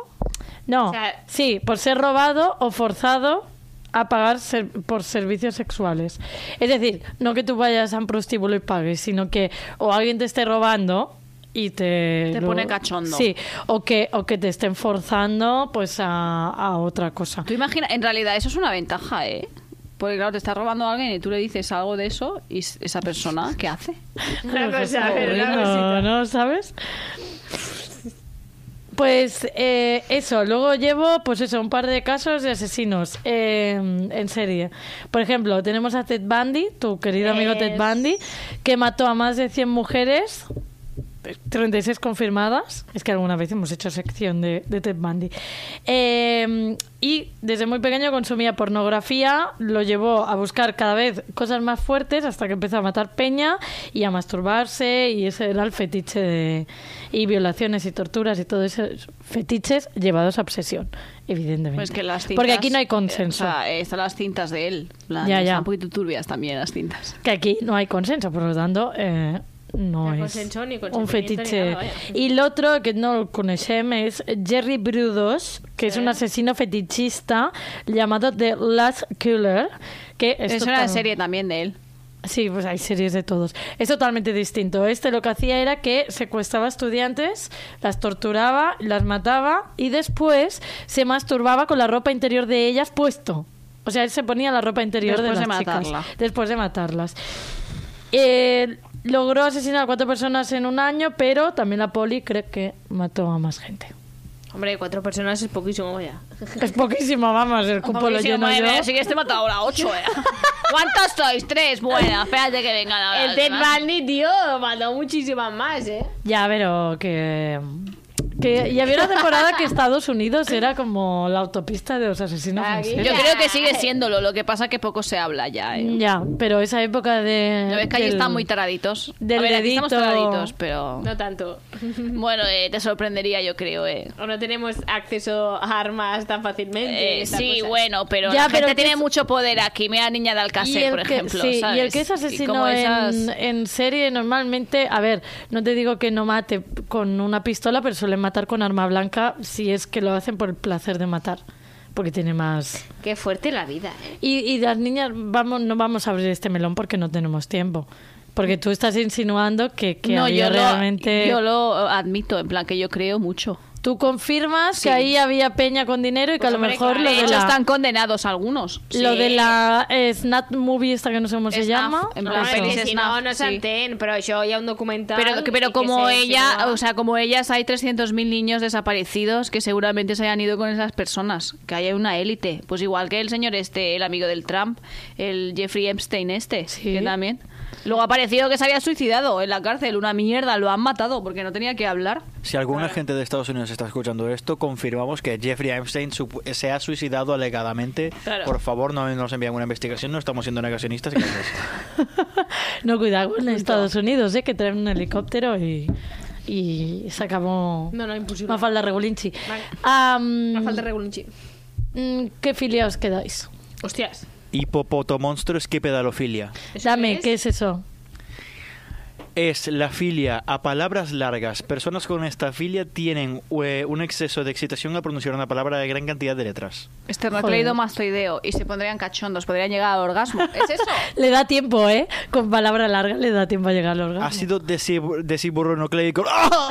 D: No.
B: O sea-
D: sí, por ser robado o forzado a pagar ser- por servicios sexuales. Es decir, no que tú vayas a un prostíbulo y pagues, sino que o alguien te esté robando y te...
C: Te pone cachondo.
D: Sí, o que, o que te estén forzando pues a, a otra cosa.
C: Tú imaginas, en realidad eso es una ventaja, ¿eh? Porque claro, te está robando a alguien y tú le dices algo de eso y s- esa persona, ¿qué hace?
B: Una
D: Pues,
B: cosa, pero una
D: bueno,
B: cosita.
D: ¿no? ¿Sabes? Pues eh, eso, luego llevo pues eso, un par de casos de asesinos eh, en serie. Por ejemplo, tenemos a Ted Bundy, tu querido amigo Ted
B: Es-
D: Bundy, que mató a más de 100 mujeres, 36 confirmadas. Es que alguna vez hemos hecho sección de, de Ted Bundy. Eh, y desde muy pequeño consumía pornografía, lo llevó a buscar cada vez cosas más fuertes hasta que empezó a matar peña y a masturbarse y ese era el fetiche de... y violaciones y torturas y todos esos fetiches llevados a obsesión, evidentemente.
C: Pues que las cintas,
D: Porque aquí no hay consenso.
C: eh, O sea, eh, están las cintas de él. La-
D: Ya, ya.
C: Están un poquito turbias también las cintas.
D: Que aquí no hay consenso, por lo tanto, eh, no
B: No hay
D: es
B: consenso ni
D: un
B: consentimiento
D: fetiche.
B: ni nada, vaya.
D: y el otro que no lo conocemos es Jerry Brudos, que es un asesino fetichista llamado The Last Killer. Que es,
C: Es
D: total-
C: una serie también de él.
D: Sí, pues hay series de todos. Es totalmente distinto. Este lo que hacía era que secuestraba estudiantes, las torturaba, las mataba y después se masturbaba con la ropa interior de ellas puesto. O sea, él se ponía la ropa interior
C: Después
D: de
C: de
D: las chicas.
C: matarla.
D: Después de matarlas. Eh, logró asesinar a cuatro personas en un año, pero también la poli cree que mató a más gente.
B: Hombre, cuatro personas es poquísimo, vaya. ¿eh?
D: Es poquísimo, vamos, el cupo lo lleno yo.
C: Así que este mató ahora ocho, ¿eh? ¿Cuántos sois? Tres. Bueno, espérate que vengan ahora.
B: El
C: los
B: Ted
C: demás.
B: Bundy, tío, mandó muchísimas más, ¿eh?
D: Ya, pero que... que y había una temporada que Estados Unidos era como la autopista de los asesinos. en
B: Aquí.
D: serie.
C: Yo creo que sigue siéndolo, lo que pasa que poco se habla ya, ¿eh?
D: Ya, pero esa época de...
C: ¿No ves que ahí
D: del-
C: están muy taraditos?
D: del
C: a ver, aquí estamos
D: dedito.
C: taraditos, pero...
B: No tanto.
C: Bueno, eh, te sorprendería yo creo, ¿eh?
B: O no tenemos acceso a armas tan fácilmente.
C: Eh,
B: tal
C: sí,
B: cosa.
C: bueno, pero
D: Ya,
C: la gente
D: pero que
C: tiene
D: es-
C: mucho poder aquí. Mira, niña de
D: Y
C: Alcácer,
D: el,
C: por
D: que,
C: ejemplo.
D: sí,
C: ¿sabes?
D: y el que es
C: Y
D: asesino
C: como esas-
D: en, en serie normalmente, a ver, no te digo que no mate con una pistola, pero suelen matar con arma blanca si es que lo hacen por el placer de matar, porque tiene más...
B: Qué fuerte la vida, ¿eh?
D: Y, y las niñas, vamos, no vamos a abrir este melón porque no tenemos tiempo. Porque tú estás insinuando que, que
C: No,
D: había
C: yo
D: realmente...
C: lo, yo lo admito, en plan que yo creo mucho.
D: Tú confirmas que ahí había peña con dinero
C: Pues
D: y que a lo
B: hombre,
D: mejor
B: claro.
D: lo
C: De
D: de
C: hecho,
D: la...
C: están condenados algunos.
D: Lo
C: Sí.
D: de la eh, Snap Movie esta que no sé cómo se
C: Snap,
D: llama.
C: en
B: No,
C: plan,
B: és
D: Eso.
B: que
C: pelis
B: si
C: snuff,
B: no, no
C: sí.
B: s'entén, però això hi ha un documental...
C: Pero,
B: i
C: pero
B: que
C: como
B: se
C: ella,
B: insinua.
C: o sea, como ellas hay 300.000 niños desaparecidos que seguramente se hayan ido con esas personas, que hay una élite. Pues igual que el señor este, el amigo del Trump, el Jeffrey Epstein este,
D: Sí.
C: que también. Luego ha parecido que se había suicidado en la cárcel, una mierda, lo han matado porque no tenía que hablar.
E: Si alguna gente de Estados Unidos está escuchando esto, confirmamos que Jeffrey Epstein sup- se ha suicidado alegadamente.
C: Claro.
E: Por favor, no nos envíen una investigación, no estamos siendo negacionistas. gracias.
D: No, cuidado con Estados Unidos, eh, que traen un helicóptero y, y se acabó...
B: No, no, impossible.
D: Mafalda Regulinchi.
B: Vale.
D: Am,
B: Em... Falta regular un xip.
D: mm, ¿Qué filia os quedáis?
B: Hòsties.
E: Hipopotomonstruos que pedalofilia.
B: ¿Eso
D: Dame,
B: es?
D: ¿qué es eso?
E: Es la filia a palabras largas. Personas con esta filia tienen eh, un exceso de excitación al pronunciar una palabra de gran cantidad de letras.
C: Este Esternocleidomastoideo y se pondrían cachondos, podrían llegar al orgasmo. ¿Es eso?
D: Le da tiempo, ¿eh? Con palabra larga le da tiempo a llegar al
C: Ah.
D: orgasmo.
E: Ácido desib- desiburronucleico. ¡Ah!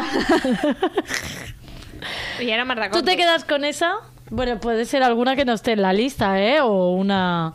B: I ara me'n recordo.
D: ¿Tú te quedas con esa? Bueno, puede ser alguna que no esté en la lista, ¿eh? O una...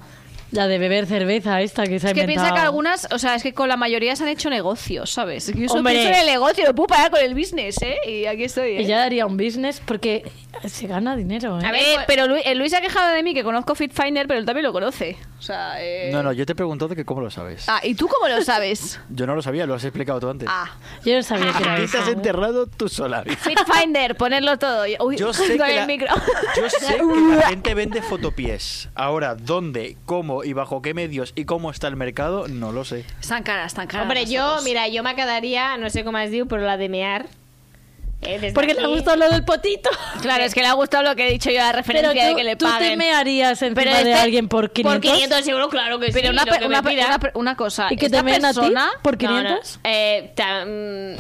D: La de beber cerveza esta que se ha
C: Es que piensa
D: inventado.
C: que algunas, o sea, es que con la mayoría se han hecho negocios, ¿sabes? Yo solo
D: Hombre.
C: pienso en el negocio, no puedo parar con el business, ¿eh? Y aquí estoy, ¿eh?
D: Ella daría un business porque se gana dinero, ¿eh?
C: A
B: A
C: ver,
B: ver, pues-
C: pero Luis, el Luis se ha quejado de mí que conozco FitFinder, pero él también lo conoce. O sea, eh...
E: No, no, yo te he preguntado que cómo lo sabes.
C: Ah, ¿y tú cómo lo sabes?
E: Yo no lo sabía, lo has explicado tú antes.
C: Ah,
D: Yo no sabía que era
E: Aquí
D: eso.
E: te has enterrado tú sola. Vicky.
C: FitFinder, ponerlo todo. Uy,
E: Yo sé, que
C: con el
E: la,
C: micro.
E: yo sé que la gente vende fotopies. Ahora, ¿dónde, cómo y bajo qué medios y cómo está el mercado? No lo sé.
C: Están caras, están caras.
B: Hombre,
C: las
B: jo,
C: fotos.
B: mira, jo me quedaria, no sé com es diu, però la de mear. Eh, desde
D: Porque le ha
B: aquí-
D: gustado lo del potito.
C: Claro, es que le ha gustado lo que he dicho yo, la
D: eh, Pero
C: referencia de
D: tú,
C: que le
D: tú te
C: paguen.
D: mearías encima
B: Pero
D: de
B: este-
D: alguien por 500.
B: Por 500 euros, claro que sí.
C: Pero una,
B: lo que
C: pe-
B: me
C: una pe-
B: pida.
C: una pe- una cosa.
D: ¿Y que
C: esta
D: te meen a ti
C: persona...
D: por
B: No, no.
D: 500?
B: Eh, ta- mm,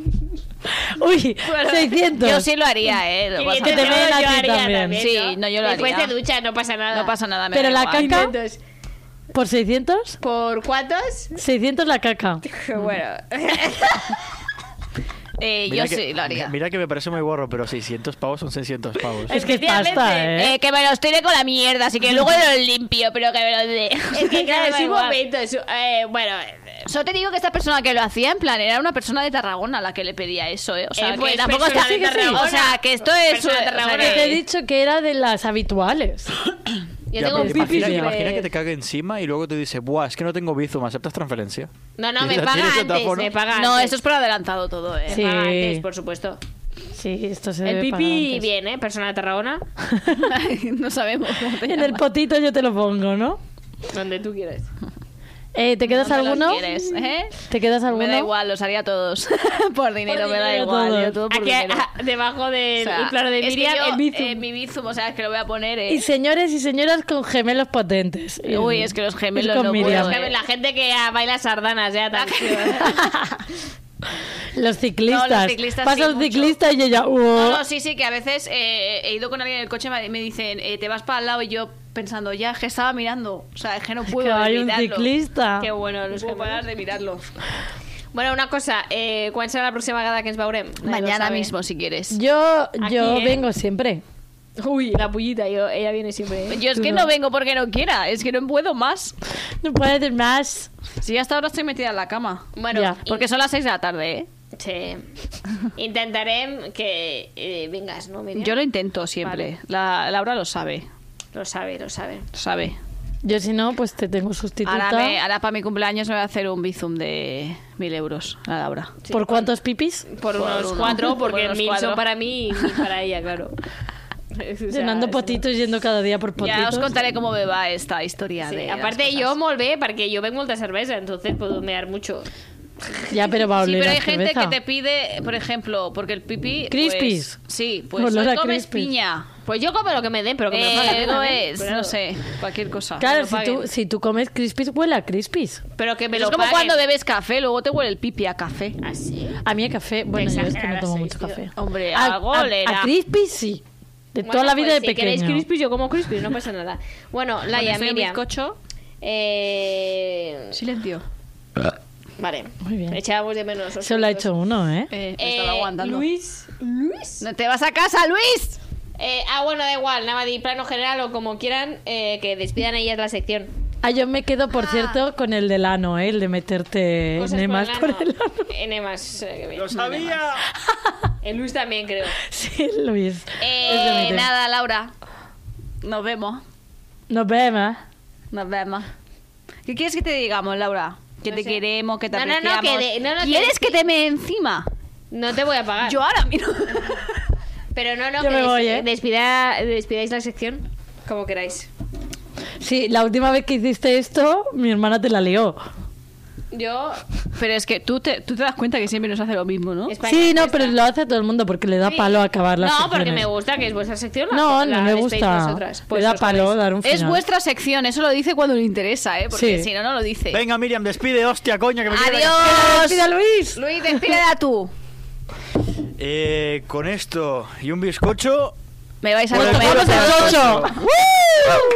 D: Uy, 600.
C: Yo sí lo haría, ¿eh? Lo vas a
D: que te
C: hacer.
D: ven a
B: yo
D: ti
B: haría
D: también.
C: Sí, no, yo lo
B: Después
C: haría.
B: te duchas, no pasa nada.
C: No pasa nada. me
D: Pero
C: da
D: la
C: igual.
D: caca-
B: Entonces,
D: ¿Por 600?
B: ¿Por cuántos?
D: 600 la caca.
B: Bueno,
C: Eh,
E: Mira
C: yo
E: que-
C: sí lo haría.
E: Mira que me parece muy borro, pero 600 pavos son 600 pavos.
D: Es que es pasta, ¿eh?
C: Eh, que me los tire con la mierda, así que luego los limpio, pero que me los dé.
B: es que claro,
C: da
B: es un
C: igual.
B: momento. es un- eh, bueno, eh,
C: Solo te digo que esta persona que lo hacía, en plan, era una persona de Tarragona la que le pedía eso, ¿eh? O sea,
B: Eh, pues,
C: que tampoco
B: persona
C: está...
B: de Tarragona.
C: O sea, que esto es...
B: Persona de
C: o sea,
B: Tarragona.
D: Que
C: que-
D: te he dicho que era de las habituales.
B: yo
E: Ya,
B: tengo
E: pero
B: un
E: imagina,
B: pipi.
E: imagina que te cague encima y luego te dice, buah, es que no tengo Bizum, ¿aceptas transferencia?
B: No, no,
E: Y
B: me
E: la
B: paga
E: tienes en
B: antes,
E: teléfono.
B: me paga
C: No,
B: antes.
C: esto es por adelantado todo, ¿eh?
D: Sí.
B: Me paga antes, por supuesto.
D: Sí, esto se
B: El
D: debe pagar
B: pipi
D: antes.
B: bien, ¿eh? Persona de Tarragona.
C: no sabemos cómo te
D: En el
C: llamas.
D: potito yo te lo pongo, ¿no?
B: Donde tú quieras.
D: Eh, ¿Te quedas
C: ¿Dónde los
D: alguno?
C: quieres, eh?
D: ¿Te quedas alguno?
C: Me da igual, los haría todos. por dinero, me da
D: dinero
C: igual.
D: todos.
C: Yo todo por
B: Aquí,
C: dinero.
B: ah, debajo del
C: O sea,
B: claro de
C: es que
B: Miriam,
C: yo,
B: el bizum.
C: eh, mi bizum, o sea, es que lo voy a poner. eh.
D: Y señores y señoras con gemelos potentes.
C: Uy, es que los gemelos
D: con
C: no
D: Miriam.
C: puedo, eh.
B: La gente que ah, baila sardanas, ya tan
D: Ah. Los ciclistas.
C: No, los ciclistas
D: Pasa
C: sí,
D: un
C: mucho.
D: ciclista y ella. "Oh, "Uah".
C: No, no, sí, sí, que a veces eh, he ido con alguien en el coche y me- me dicen, eh, te vas para al lado y yo pensando, ya, es que estaba mirando. O sea, es que no puedo
D: que hay un
C: evitarlo.
D: ciclista.
B: Qué bueno, los
C: No puedo
B: gemelos.
C: parar de mirarlo.
B: Bueno, una cosa, eh, ¿cuál será la próxima vegada que ens veurem? Nadie lo
C: Mañana
B: sabe.
C: mismo, si quieres.
D: Yo,
B: Aquí,
D: yo
B: ¿eh?
D: vengo siempre.
B: Uy, la pullita, yo, ella viene siempre. ¿eh?
C: Yo es que no vengo porque no quiera, es que no puedo más.
D: No puedo decir más.
C: Si hasta ahora estoy metida en la cama.
B: Bueno,
D: Ya.
B: y-
C: Porque son las 6 de la tarde, ¿eh?
B: sí. intentaré que eh, vengas, ¿no, Miriam?
C: Yo lo intento siempre.
B: Vale.
C: La, Laura lo sabe.
B: Lo sabe, lo sabe.
C: Lo sabe.
D: Yo, si no, pues te tengo sustituta.
C: Ahora, me- ahora para mi cumpleaños me voy a hacer un bizum de mil euros a Laura.
D: ¿Por cuántos pipis?
B: Por,
C: Por
B: unos
C: uno.
B: cuatro, porque
C: Por unos
B: mil son
C: cuatro.
B: para mí y mil para ella, claro. O sea, eso
D: Llenando
B: no-
D: potitos, yendo cada día por potitos.
C: Ya os contaré cómo me va esta historia.
B: Sí,
C: de las
B: aparte
C: cosas.
B: jo molt bé, perquè jo bec molta cervesa, entonces puedo mear mucho.
D: Ya, pero va a
C: Sí,
D: oler
C: pero
D: a
C: hay gente
D: cerveza.
C: que te pide, por ejemplo, porque el pipí...
D: Crispies.
C: pues, sí, pues
D: Olor
C: hoy
D: a
C: comes
D: crispies.
C: piña.
B: Pues yo como lo que me den, pero que me
C: Eh,
B: lo paguen,
C: no
B: ¿eh?
C: es,
B: Pero-
C: no sé, cualquier cosa.
D: Claro,
B: lo
D: si
B: paguen.
D: tú, si tú comes crispies, huele a crispies.
B: Pero que me
C: Pero
B: lo
C: es como
B: paguen.
C: cuando bebes café, luego te huele el pipi a café.
B: Así.
D: A mí el café, bueno, yo es que no
B: exageradas
D: tomo
B: sois,
D: mucho
B: tío.
D: café.
C: Hombre,
D: a,
C: algo
D: a-
C: olerá.
D: a crispies sí. De toda la vida
B: pues,
D: de
B: si queréis
D: pequeño.
B: crispis, yo como crispis, no pasa nada. Bueno, Laia,
C: Cuando estoy en
B: Miriam.
C: bizcocho,
B: Eh...
C: silencio.
B: Vale.
D: Muy bien.
B: Echábamos de menos. los
D: Se lo ha
B: juntos.
D: hecho uno, ¿eh?
C: Eh, me
B: Eh,
C: estaba aguantando.
B: Luis. Luis.
C: ¡No te vas a casa, Luis!
B: Eh, ah, bueno, da igual, nada, de plano general o como quieran, eh, que despidan ellas la sección.
D: Ah, yo me quedo, por cierto, con el del ano, ¿eh? El de meterte
B: Cosas
D: enemas por el
B: ano.
D: ano.
B: Enemas. eh, que bien. El Luis también, creo.
D: Sí, Luis. Es de
C: Eh,
D: meter.
C: nada, Laura. Nos vemos.
D: Nos vemos.
C: Nos vemos. ¿Qué quieres que te digamos, Laura? Que
B: No
C: te
B: sé.
C: queremos, que te
B: No, no, no,
C: apreciamos.
B: que de- Ah. no, no, que-
C: ¿Quieres que, te me encima?
B: No te voy a pagar.
C: Yo ahora mismo.
B: Pero no, no,
D: Yo
B: que
D: me
B: des-
D: voy, ¿eh?
B: despida- despidáis la sección como queráis.
D: Sí, la última vez que hiciste esto, mi hermana te la lió.
B: Yo,
C: Pero es que tú te, tú te das cuenta que siempre nos hace lo mismo, ¿no?
B: España
D: Sí, no,
B: está-
D: pero lo hace a todo el mundo porque le da
B: Sí.
D: palo acabar las
B: No, porque
D: secciones.
B: me gusta que es vuestra sección. la-
D: No,
B: Pues la
D: no me
B: despedís
D: gusta.
B: vosotras.
D: Le
B: Pues
D: da
B: os
D: palo
B: vais.
D: dar un final.
C: Es vuestra sección, eso lo dice cuando le interesa, ¿eh? Porque
D: Sí.
C: si no, no lo dice.
E: Venga, Miriam, despide, hostia, coño, que me quiero ir a
C: ¡Adiós!
D: ¡Mira, Luis!
C: Luis, despídela tú.
E: casa. Eh, con esto y un bizcocho...
C: Me vais a
E: Bueno,
C: comer.
E: bueno,
D: ¡Vamos
E: pero-
D: al ocho!
E: ¡Woo!